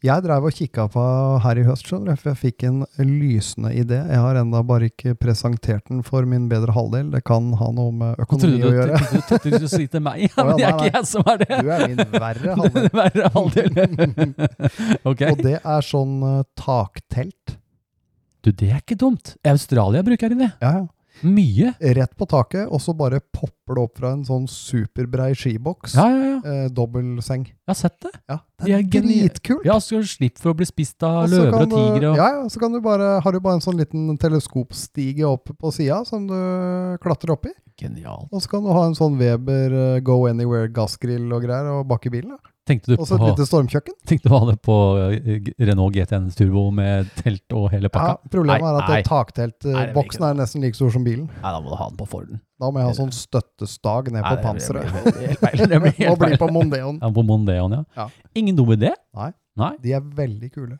Jeg drev og kikka på her i høst, skjønner du, for jeg fikk en lysende idé. Jeg har enda bare ikke presentert den for min bedre halvdel. Det kan ha noe med
Nå trodde
økonomi
du
å gjøre.
trodde du trodde du skulle si til meg, ja,
Å, ja,
men det er
nei,
ikke jeg som er det.
Du er min verre halvdel.
Verre halvdel. Ok.
Og det er sånn eh, taktelt.
Du, det er ikke dumt. Australia bruker det.
Ja, ja.
Mye.
Rett på taket, og så bare popper det opp fra en sånn superbrei skiboks.
Ja, ja, ja.
Eh, dobbeltseng.
Jeg har sett det.
Ja,
De er
det er
geni-
dritkult.
Ja, så slipp for å bli spist av
Og så
løver
kan
og tigre.
Du,
Og...
ja, ja, så kan du bare, har du bare en sånn liten teleskopstige opp på sida som du klatrer opp i.
Genialt.
Og så kan du ha en sånn Weber eh, Go Anywhere gassgrill og greier og bake bilen. da.
Tenkte du
Og så et
på,
lite stormkjøkken.
tenkte du å ha det på eh, G- Renault GTN Turbo med telt og hele
Ja,
pakka?
problemet
Nei,
er at
nei.
det
Nei,
takteltboksen eh,
det blir
boksen er nesten like stor som bilen.
Nei, da må du ha den på Forden.
Da må jeg ha sånn støttestag ned
Nei,
på
det blir-
panseret.
det blir helt feil. Det blir helt
Og bli
feil.
på Mondeon.
Ja, på Mondeon, ja.
Ja.
Ingen dum idé.
De er veldig kule.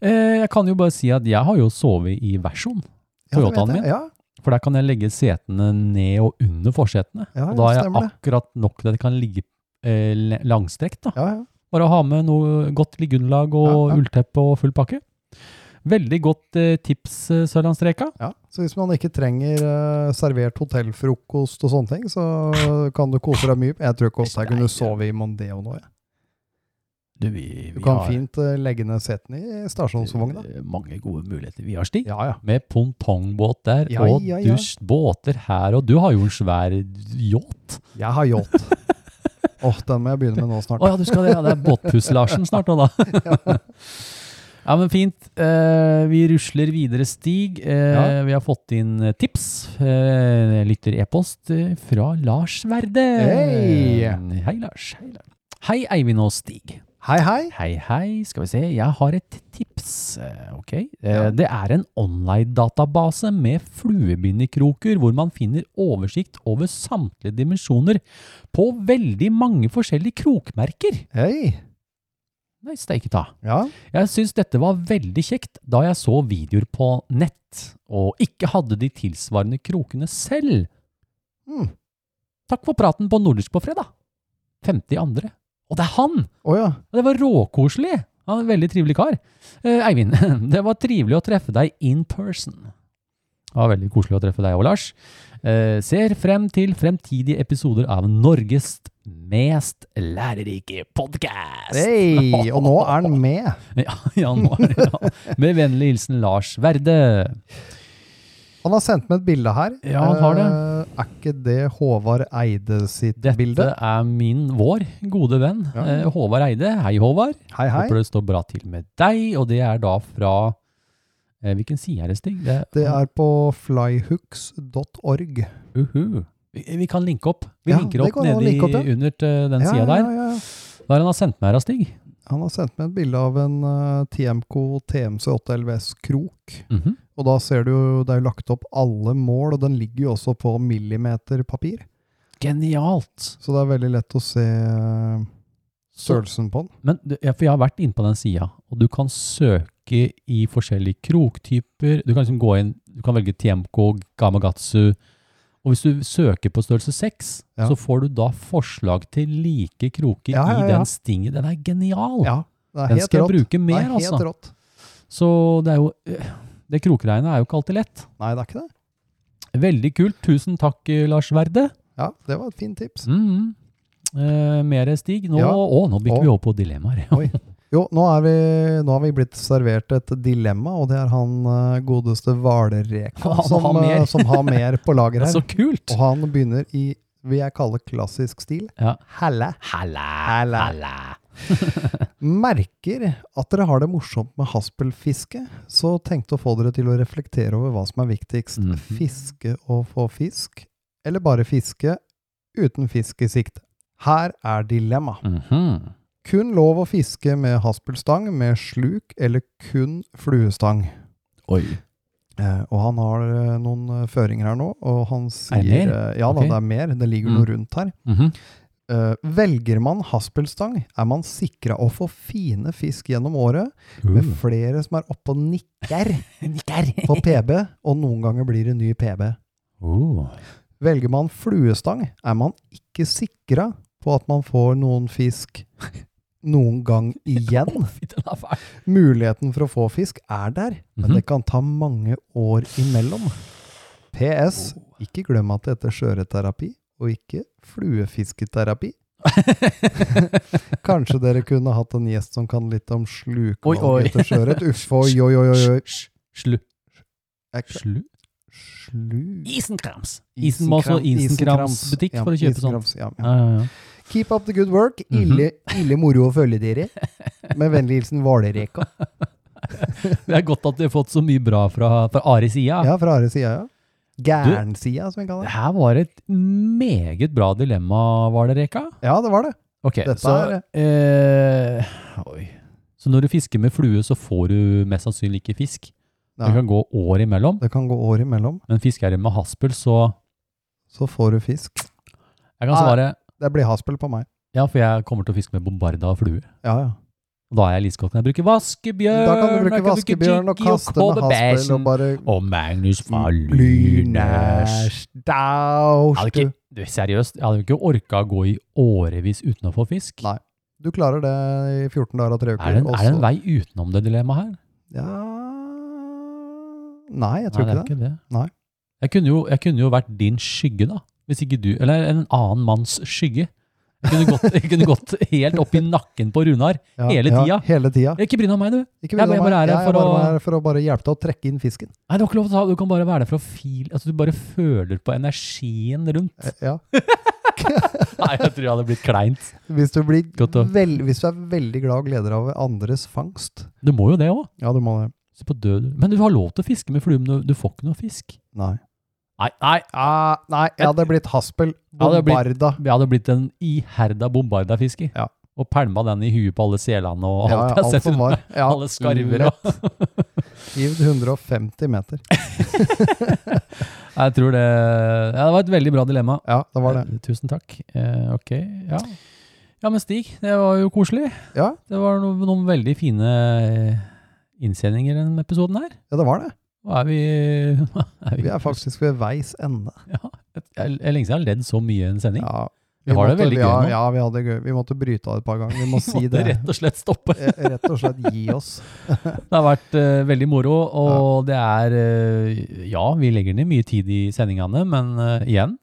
Eh, jeg kan jo bare si at jeg har jo sovet i versjon.
Ja, det vet
Toyotaen
jeg.
min.
Ja,
For der kan jeg legge setene ned og under forsetene.
Ja,
og da har jeg
stemmer det.
akkurat nok til at det kan ligge eh, le- langstrekt. Da.
ja, ja.
Bare å ha med noe godt liggeunderlag og
Ja, ja.
ullteppe og full pakke. Veldig godt eh, tips, eh, Sørlandsreka.
Ja, så hvis man ikke trenger eh, servert hotellfrokost og sånne ting, så kan du kose deg mye. Jeg tror ikke også jeg kunne sove i Mondeo nå. Jeg.
Du, vi, eh,
Du kan fint eh, legge ned setene i stasjonsvogna.
mange gode muligheter. Vi har stig.
Ja, ja.
Med pongpongbåt der,
Ja,
og
ja, ja.
dusj, båter her, og du har jo en svær yacht.
Jeg har yacht. Åh, den må jeg begynne med nå
Å
snart.
ja, du skal det. Ja, det er båtpuss-Larsen snart nå, da. ja, men fint. Eh, vi rusler videre, Stig. Eh,
Ja.
Vi har fått inn eh, tips. Eh, lytter e-post eh, fra Lars Verde.
Hei!
Hei, Lars. Hei, Lars. Hei, Eivind og Stig.
Hei, hei.
Hei, hei. Skal vi se, jeg har et tips. Eh, Ok. Eh, Det er en online-database med fluebindekroker hvor man finner oversikt over samtlige dimensjoner på veldig mange forskjellige krokmerker.
Hei.
Nei, steike ta.
Ja.
Jeg syns dette var veldig kjekt da jeg så videoer på nett, og ikke hadde de tilsvarende krokene selv.
Mm.
Takk for praten på Nordisk på fredag. 52. Og det er han!
Å ja.
Og Det var råkoselig! Han er en veldig trivelig kar. Eh, Eivind, det var trivelig å treffe deg in person. Det var veldig koselig å treffe deg òg, Lars. Eh, ser frem til fremtidige episoder av Norges mest lærerike podkast!
Hei! Og nå er han med.
Ja, ja, nå er det, ja. Med vennlig hilsen Lars Verde.
Han har sendt meg et bilde her.
Ja, han har det.
Eh, Er ikke det Håvard Eide sitt
Dette
bilde?
er min, vår, gode venn
Ja.
eh, Håvard Eide. Hei, Håvard.
Hei, hei.
Håper det står bra til med deg, og det er da fra eh, Hvilken side er det, Stig? Det,
Det er på flyhooks.org.
Uhu. Vi, vi kan linke opp. Vi
Ja,
linker
det
opp
går an å
nedi
linke opp, ja.
under til den sida der.
ja, ja.
Hva er det han har sendt meg her, da, Stig?
Han har sendt meg et bilde av en eh, TMK TMC8 LVS Krok.
Mhm.
Og da ser du jo, det er jo lagt opp alle mål, og den ligger jo også på millimeterpapir.
Genialt!
Så det er veldig lett å se eh,
Så-
størrelsen på den.
Men du- ja, for jeg har vært inne på den sida, og du kan søke i forskjellige kroktyper. Du kan liksom gå inn, du kan velge TMK, Gamagatsu. Og hvis du søker på størrelse 6,
Ja.
så får du da forslag til like kroker
Ja, ja,
i
ja.
den stingen. Den er genial!
Ja, det er
den
helt
skal jeg
rått.
bruke
Det
mer,
er helt
altså.
rått.
Så det er jo øh, Det krokregnet er jo ikke alltid lett.
Nei, det er ikke det.
Veldig kult. Tusen takk, eh, Lars Verde.
Ja, det var et fint tips.
Mm. Eh, mer Stig. Nå,
Ja.
å, nå bytter
Å.
vi over på dilemmaer.
Oi. Jo, nå, er vi, nå har vi blitt servert et dilemma, og det er han eh, godeste hvalerreka
Han
som,
har mer.
eh, som har mer på lager her.
Så kult!
Og han begynner i, vil jeg kalle klassisk stil,
Ja.
helle.
Halla!
Merker at dere har det morsomt med haspelfiske, så tenkte å få dere til å reflektere over hva som er viktigst.
Mhm.
Fiske og få fisk, eller bare fiske uten fisk i sikte. Her er dilemma.
Mhm.
Kun lov å fiske med haspelstang, med sluk eller kun fluestang.
Oi.
Eh, og han har eh, noen eh, føringer her nå, og han
Er det mer?
sier eh, Ja da,
Ok.
det er mer. Det ligger noe rundt her.
Mhm.
Eh, velger man haspelstang, er man sikra å få fine fisk gjennom året, med
Uh.
flere som er oppe og nikker på PB, og noen ganger blir det ny PB.
Uh.
Velger man fluestang, er man ikke sikra på at man får noen fisk noen gang igjen.
Fy, den er fæl.
Muligheten for å få fisk er der, men
Mhm.
det kan ta mange år imellom. PS.
Oh.
Ikke glem at det heter skjøreterapi, og ikke fluefisketerapi. Kanskje dere kunne hatt en gjest som kan litt om
Oi, oi.
slukevalg etter sjøørret. Uff, oi, oi, oi, oi.
Sj- Slu.
Jeg kan-
Slu.
Slu...
Isenkrams! Isenmas og Isenkrams butikk
Ja,
for å kjøpe sånt.
Isenkrams, ja, ja.
Ja, Mhm. ja, ja.
Keep up the good work. Ille, ille moro å følge dere. Med vennlig hilsen Hvalereka.
Det er godt at de har fått så mye bra fra, fra Aris side.
Ja, fra Are sida, ja. Gærnsida, som vi kaller
Det
det.
her var et meget bra dilemma, var det, Reka?
Ja, det var det.
Ok,
Dette
så, eh, oi. så når du fisker med flue, så får du mest sannsynlig ikke fisk.
Ja.
Det kan gå år imellom,
Det kan gå år imellom,
men fisker jeg med haspel, så
så får du fisk.
jeg kan
Ah.
svare
Det blir haspel på meg.
ja, for jeg kommer til å fiske med bombarda og flue.
Ja, ja.
Og Da er jeg like godt kan jeg bruke vaskebjørn,
Da kan du bruke
jeg
vaskebjørn og
jiggy
kaste med haspel
kobberbæsjen,
og Mm. bare
og Magnus fra Lynæsj. Jeg hadde
Daust.
ikke, du, seriøst, jeg hadde jo ikke orka å gå i årevis uten å få fisk.
Nei, Du klarer det i 14 dager og tre uker.
Er det, en,
og
er det en
så-
vei utenom det dilemmaet her?
Ja Nei, jeg tror
Nei,
ikke det.
er ikke det.
Nei.
Jeg kunne, jo, jeg kunne jo vært din skygge, da. Hvis ikke du Eller en annen manns skygge. Jeg kunne gått, jeg kunne gått helt opp i nakken på Runar
Ja,
hele
ja,
tida.
hele tida.
Ikke bry deg om meg, du. Jeg
Ikke bry deg om
bare
meg.
er her
Jeg
for
er bare
å-
her for å bare hjelpe til å trekke inn fisken.
Nei, du har ikke lov til å ta Du kan bare være der for å feel Altså, du bare føler på energien rundt.
Eh, Ja.
Nei, jeg tror jeg hadde blitt kleint.
Hvis du, blir
Godt å-
vel, hvis du er veldig glad og gleder deg over andres fangst
Du må jo det òg.
Ja, du må det.
Men du har lov til å fiske med flue, men du, du får ikke noe fisk.
Nei.
Nei, nei.
Ah, nei, jeg hadde blitt haspel.
Ja, det hadde blitt-
Bombarda.
Jeg hadde blitt en iherda bombardafisker.
Ja.
Og pælma den i huet på alle selene og alt
Ja, ja,
jeg har
alt
sett
som
rundt
var.
meg.
Ja,
Alle skarver og
Givd 150 meter.
Jeg tror det Ja, det var et veldig bra dilemma.
Ja, det var det.
Eh, Tusen takk. Eh, ok, ja. Ja, men Stig, det var jo koselig.
Ja.
Det var no noen veldig fine eh, innsendinger i denne episoden her.
Ja, det var det.
Og er vi, er vi,
Vi er faktisk ved veis ende.
Ja, jeg, jeg, jeg lenge siden jeg har ledd så mye i en sending.
Ja,
Vi har det
måtte-
veldig gøy
ja,
nå.
Ja, vi hadde det gøy. Vi måtte bryte av et par ganger. Vi må si
Måtte
det.
rett og slett stoppe.
Eh, Rett og slett gi oss.
Det har vært eh, veldig moro, og det er eh, Ja, vi legger ned mye tid i sendingene, men eh, igjen,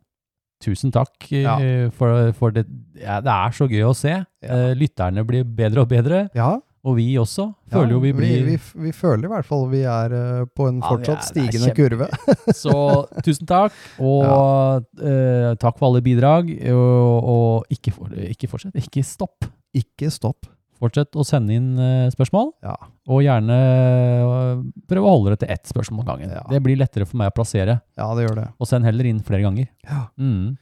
tusen takk eh,
Ja.
for, for det. Ja, det er så gøy å se. Eh, lytterne blir bedre og bedre,
Ja.
og vi også. Føler
ja,
jo vi blir
vi, vi, føler i hvert fall vi er eh, på en
Ja, vi
fortsatt
er- det er
stigende kurve.
Så tusen takk, og eh, takk for alle bidrag. Og, og ikke, for, ikke fortsett, ikke stopp.
Ikke stopp.
Fortsett å sende inn eh, spørsmål,
Ja.
og gjerne eh, prøv å holde det til ett spørsmål om gangen.
Ja.
Det blir lettere for meg å plassere,
Ja, det gjør det.
og send heller inn flere ganger.
Ja.
Mm.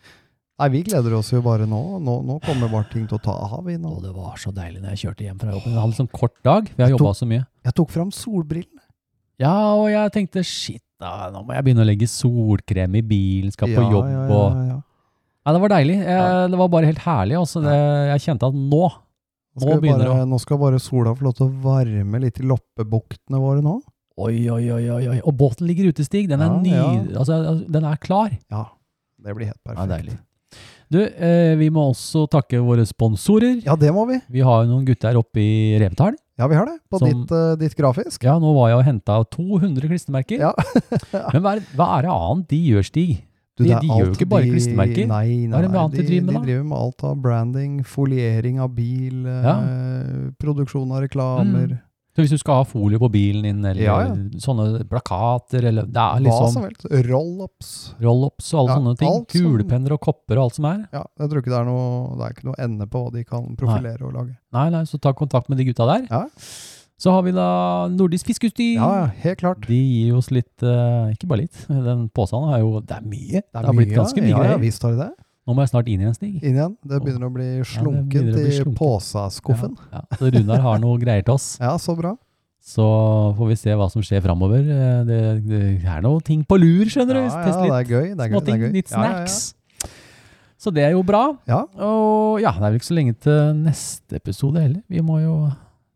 Nei, vi gleder oss jo bare nå. Nå, nå kommer bare ting til å ta av. Vi nå.
Og det var så deilig når jeg kjørte hjem fra jobben. Jeg hadde en sånn kort dag, vi har
Jeg
jobba så mye.
Jeg tok fram solbrillene.
Ja, og jeg tenkte shit, da, nå må jeg begynne å legge solkrem i bilen, skal på jobb
ja,
og
ja, ja.
Nei, det var deilig. Jeg, Det var bare helt herlig. Altså. Det, jeg kjente at nå
Nå skal,
Nå
vi
begynner
bare, nå skal bare sola få lov til å varme litt i loppebuktene våre nå.
Oi, oi, oi, oi, oi. Og båten ligger ute, Stig. Den er
Ja,
ny...
ja.
Altså, den er klar.
Ja, det blir helt perfekt.
Ja, deilig. Du, eh, vi må også takke våre sponsorer.
Ja, det må vi.
Vi har jo noen gutter oppe i Revetal.
Ja, vi har det. På
Som-
ditt, eh, ditt grafisk.
Ja, nå var jeg og henta 200 klistremerker.
Ja.
Men hva er, hva er det annet de gjør, Stig? De-
det er
de gjør jo
alt
ikke bare
de-
klistremerker. Hva
Nei, nei,
er det med
nei.
annet de
De,
driver med
de
da?
driver med alt av branding, foliering av bil, eh, produksjon av reklamer.
Så hvis du skal ha folie på bilen din, eller
Ja, ja.
sånne plakater, eller det er
Hva som
liksom
helst. Roll-ups.
roll-ups og alle
Ja,
sånne ting.
alt som-
Kulepenner og kopper og alt som er.
Ja, jeg tror ikke det er noe Det er ikke noe ende på hva de kan profilere og lage.
Nei, nei, så ta kontakt med de gutta der.
Ja.
Så har vi da Nordisk Fiskeutstyr.
Ja, ja, helt klart.
De gir oss litt, eh, ikke bare litt, den påsene er jo, det er mye. Det, har blitt
mye,
ganske mye
ja, ja,
greier.
visst har de det.
Nå må jeg snart inn i en stig.
Inn igjen. Det begynner å bli slunket
begynner å bli
i
slunket.
påsaskuffen.
Ja, ja. Så Runar har noe greier til oss.
Ja, så bra.
Så får vi se hva som skjer framover. Eh, Det, det er noen ting på lur, skjønner du.
Ja, ja,
Test litt
det er gøy. Det er gøy, det
småting,
er gøy.
litt
Ja, ja, ja.
snacks. Så det er jo bra.
Ja.
Og ja, det er vel ikke så lenge til neste episode heller. Vi må jo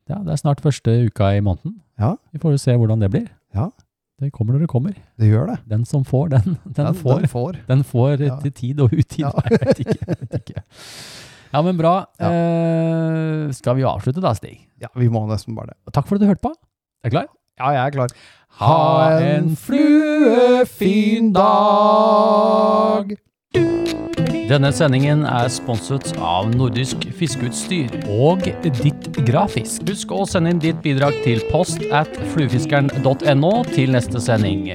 Ja, det er snart første uka i måneden.
Ja.
Vi får jo se hvordan det blir.
Ja.
Det kommer når det kommer.
Det gjør det.
Den som får, den, den, får.
Den får.
Den får
Ja.
til tid og utid.
Ja.
Nei, jeg vet ikke. Jeg vet ikke. Ja, men bra.
Ja.
Eh, skal vi avslutte da, Stig?
Ja, vi må nesten bare det.
Og Takk for at du hørte på. Er du klar?
Ja, jeg er klar.
Ha en fluefin dag! Denne sendingen er sponset av Nordisk Fiskeutstyr og Ditt Grafisk. Husk å sende inn ditt bidrag til post at fluefiskeren.no til neste sending.